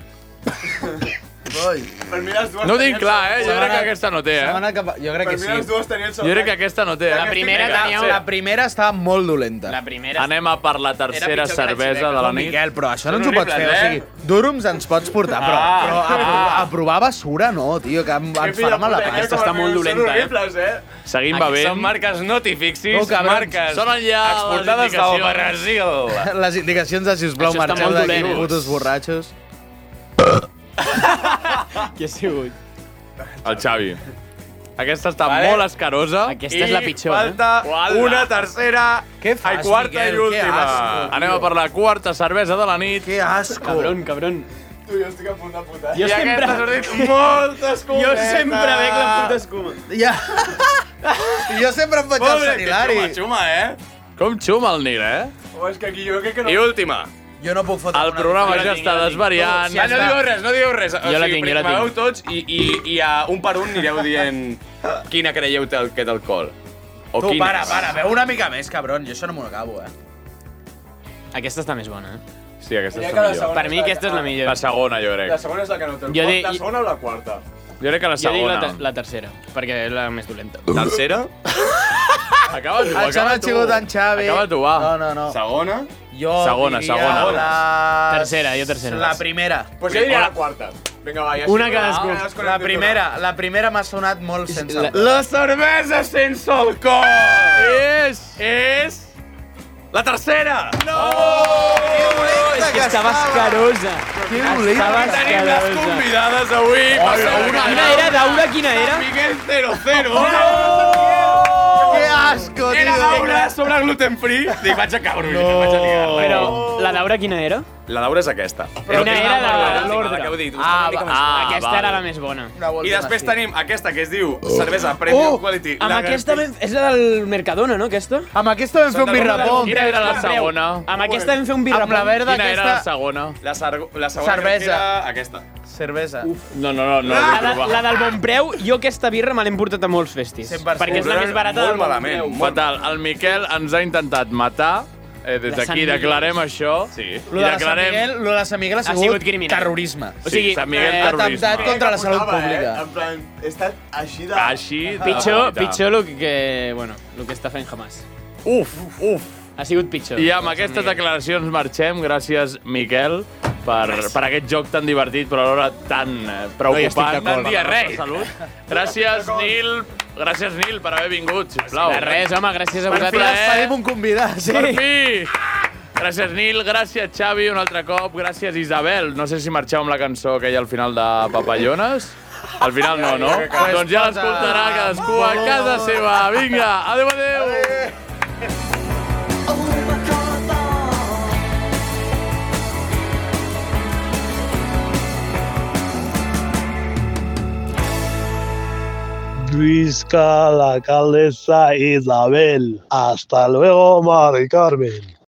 Speaker 6: Per mi les dues
Speaker 3: No ho tinc
Speaker 6: tenien
Speaker 3: clar, eh?
Speaker 6: sabor.
Speaker 3: Jo crec que aquesta no té, eh?
Speaker 5: Segona que... fa- Jo crec
Speaker 6: Per
Speaker 5: que
Speaker 6: mi
Speaker 5: sí.
Speaker 6: les dues tenien
Speaker 3: Jo crec que aquesta no té, eh?
Speaker 8: La primera tenia
Speaker 5: La
Speaker 8: una...
Speaker 5: primera estava molt dolenta.
Speaker 8: La primera...
Speaker 3: Anem a per la
Speaker 8: Era
Speaker 3: tercera
Speaker 8: pitjor que la
Speaker 3: cervesa de
Speaker 8: xineca.
Speaker 3: la
Speaker 5: Però,
Speaker 3: nit.
Speaker 5: Miquel, però això no ens ho
Speaker 12: Són
Speaker 5: pots fer.
Speaker 12: horribles,
Speaker 5: O
Speaker 12: eh?
Speaker 5: sigui, Durums ens pots portar, però,
Speaker 12: Ah.
Speaker 5: però a, provar, a provar basura no, tio, que em, ens farà mal la
Speaker 8: Aquesta
Speaker 5: pasta.
Speaker 8: està molt dolenta, eh?
Speaker 6: Horribles, eh?
Speaker 3: Seguim
Speaker 12: Aquí
Speaker 3: bevent.
Speaker 12: Són marques notifixis,
Speaker 5: No, cabrons.
Speaker 12: marques
Speaker 3: Sonen ja les
Speaker 12: exportades del
Speaker 3: indicacions.
Speaker 12: Brasil.
Speaker 5: Les indicacions de sisplau,
Speaker 8: Això està
Speaker 5: marxeu
Speaker 8: molt
Speaker 5: d'aquí,
Speaker 8: dolent.
Speaker 5: putos borratxos.
Speaker 8: Qui ha sigut?
Speaker 3: El Xavi. Aquesta està
Speaker 12: Vale.
Speaker 3: molt escarosa.
Speaker 8: Aquesta és la pitjor, eh?
Speaker 12: falta una tercera
Speaker 5: Què fas,
Speaker 12: i quarta
Speaker 5: Miquel?
Speaker 12: i última.
Speaker 5: Que asco.
Speaker 3: Anem a per la quarta cervesa de la nit.
Speaker 5: Que asco.
Speaker 8: Cabron, cabron.
Speaker 6: Tu, jo estic a punt de putar.
Speaker 8: Jo
Speaker 12: I
Speaker 8: sempre...
Speaker 12: aquesta s'ha dit moltes
Speaker 8: Jo
Speaker 12: cometes.
Speaker 8: sempre veig la puta escuma.
Speaker 5: Ja. I jo sempre em faig el
Speaker 12: Pobre,
Speaker 5: Sant
Speaker 12: que
Speaker 5: Hilari.
Speaker 12: xuma, xuma, eh?
Speaker 3: Com xuma el Nil, eh?
Speaker 12: Oh,
Speaker 6: O és que aquí jo crec que no...
Speaker 12: I última.
Speaker 5: Jo no puc fotre
Speaker 3: El programa ja està desvariant.
Speaker 12: Ja no diu res, no diu res.
Speaker 8: Jo la tinc, jo la
Speaker 12: primer
Speaker 8: tinc.
Speaker 12: veu tots i, i, i a un per un anireu dient quina creieu té aquest alcohol. O
Speaker 5: Tu,
Speaker 12: quina.
Speaker 5: para, para, veu una mica més, cabron. Jo això no m'ho acabo, eh.
Speaker 8: Aquesta està més bona, eh?
Speaker 3: Sí, aquesta
Speaker 6: Diria
Speaker 3: és
Speaker 6: que
Speaker 3: la
Speaker 6: la
Speaker 3: millor.
Speaker 6: segona-
Speaker 8: Per mi aquesta és la
Speaker 3: La
Speaker 8: millor.
Speaker 3: segona, jo
Speaker 6: La
Speaker 3: crec.
Speaker 6: segona és la que no té
Speaker 8: Jo
Speaker 6: alcohol.
Speaker 8: de-
Speaker 6: La segona o la quarta?
Speaker 3: Jo crec que la
Speaker 8: Jo dic la,
Speaker 3: segona.
Speaker 8: ter la tercera, perquè és la més dolenta.
Speaker 12: Tercera,
Speaker 3: Acaba tu,
Speaker 5: Això no
Speaker 3: acaba
Speaker 5: ha
Speaker 3: tu.
Speaker 5: sigut en Xavi.
Speaker 3: Acaba tu, va.
Speaker 5: No, no, no.
Speaker 12: segona,
Speaker 5: Jo
Speaker 3: Segona,
Speaker 5: diria
Speaker 3: segona.
Speaker 5: La...
Speaker 8: Tercera, jo tercera.
Speaker 5: La primera.
Speaker 6: Pues jo diria la quarta. Vinga, va, ja
Speaker 8: Una
Speaker 6: sí.
Speaker 8: cadascú.
Speaker 6: Ah, cadascú
Speaker 5: La
Speaker 6: anem
Speaker 5: primera, la primera m'ha sonat molt sense
Speaker 8: la-
Speaker 5: alcohol.
Speaker 12: La cervesa sense alcohol! És... És... La tercera! No!
Speaker 8: Oh,
Speaker 5: És
Speaker 8: Que estava escarosa.
Speaker 5: Que dolent.
Speaker 8: Estava
Speaker 12: Tenim les
Speaker 8: escarosa.
Speaker 12: convidades avui! Passa una
Speaker 8: Quina era, Daura, quina era?
Speaker 12: Miguel 00!
Speaker 5: Que asco,
Speaker 12: Era Daura
Speaker 5: tio.
Speaker 12: sobre gluten free! Dic, vaig a cabrón, no. vaig a liar.
Speaker 8: Però la Daura quina era?
Speaker 12: La Daura és aquesta.
Speaker 8: Però quina era la- l'ordre?
Speaker 12: Que heu dit,
Speaker 8: Ah,
Speaker 12: una mica més
Speaker 8: ah,
Speaker 12: clara.
Speaker 8: aquesta era la més bona.
Speaker 12: I després tenim aquesta que es diu cervesa premium quality.
Speaker 8: Oh, Amb
Speaker 12: La
Speaker 8: aquesta... vam- És la del Mercadona, no, aquesta?
Speaker 5: Amb aquesta vam fer un
Speaker 12: Santa Coloma
Speaker 5: birrapom.
Speaker 3: Quina era la segona?
Speaker 8: Amb aquesta hem fet un birra.
Speaker 5: Amb la verda
Speaker 3: Quina era la
Speaker 5: aquesta...
Speaker 3: segona?
Speaker 12: La, sargo- la segona
Speaker 5: Cervesa.
Speaker 12: crec que era aquesta.
Speaker 5: Cervesa.
Speaker 3: No, no, no, no.
Speaker 8: La, de, la del bon preu, jo aquesta birra me l'he portat a molts festis.
Speaker 5: 100%.
Speaker 8: Perquè és la més barata
Speaker 12: Molt
Speaker 8: del món.
Speaker 12: malament. Molt
Speaker 3: Fatal. El Miquel ens ha intentat matar. Eh, des
Speaker 8: La Sant
Speaker 3: d'aquí
Speaker 8: Miguel.
Speaker 3: declarem això.
Speaker 12: Sí.
Speaker 5: Lo de, la Sant Miguel, lo de la Sant Miguel ha
Speaker 8: Ha
Speaker 5: sigut,
Speaker 8: sigut criminal.
Speaker 5: terrorisme.
Speaker 3: O sigui, Sant Miguel
Speaker 8: eh,
Speaker 3: terrorisme.
Speaker 5: Atemptat contra la salut
Speaker 6: Apuntava,
Speaker 5: pública.
Speaker 6: Eh? En plan, he estat així de...
Speaker 3: Així de
Speaker 8: Pitjor,
Speaker 3: la veritat.
Speaker 8: pitjor lo que, bueno, lo que està fent Hamas.
Speaker 3: Uf, uf.
Speaker 8: Ha sigut pitjor.
Speaker 3: I amb aquestes declaracions marxem. Gràcies, Miquel, per, per aquest joc tan divertit, però alhora tan eh, preocupant. Tan
Speaker 5: d'acord.
Speaker 3: diarreic. Salut. Gràcies, Nil. Gràcies, Nil, per haver vingut, sisplau.
Speaker 8: De res, home, gràcies a
Speaker 3: Per eh?
Speaker 5: Fi,
Speaker 8: vosaltres.
Speaker 3: plaer.
Speaker 5: ens tenim un convidat. Sí.
Speaker 3: Per fi! Gràcies, Nil. Gràcies, Xavi, un altre cop. Gràcies, Isabel. No sé si marxeu amb la cançó que hi ha al final de Papallones. Al final no, no? Doncs ja l'escoltarà cadascú a casa seva. Vinga, adeu, adeu! adeu.
Speaker 4: Visca la alcaldesa Isabel. Hasta luego, Mari Carmen.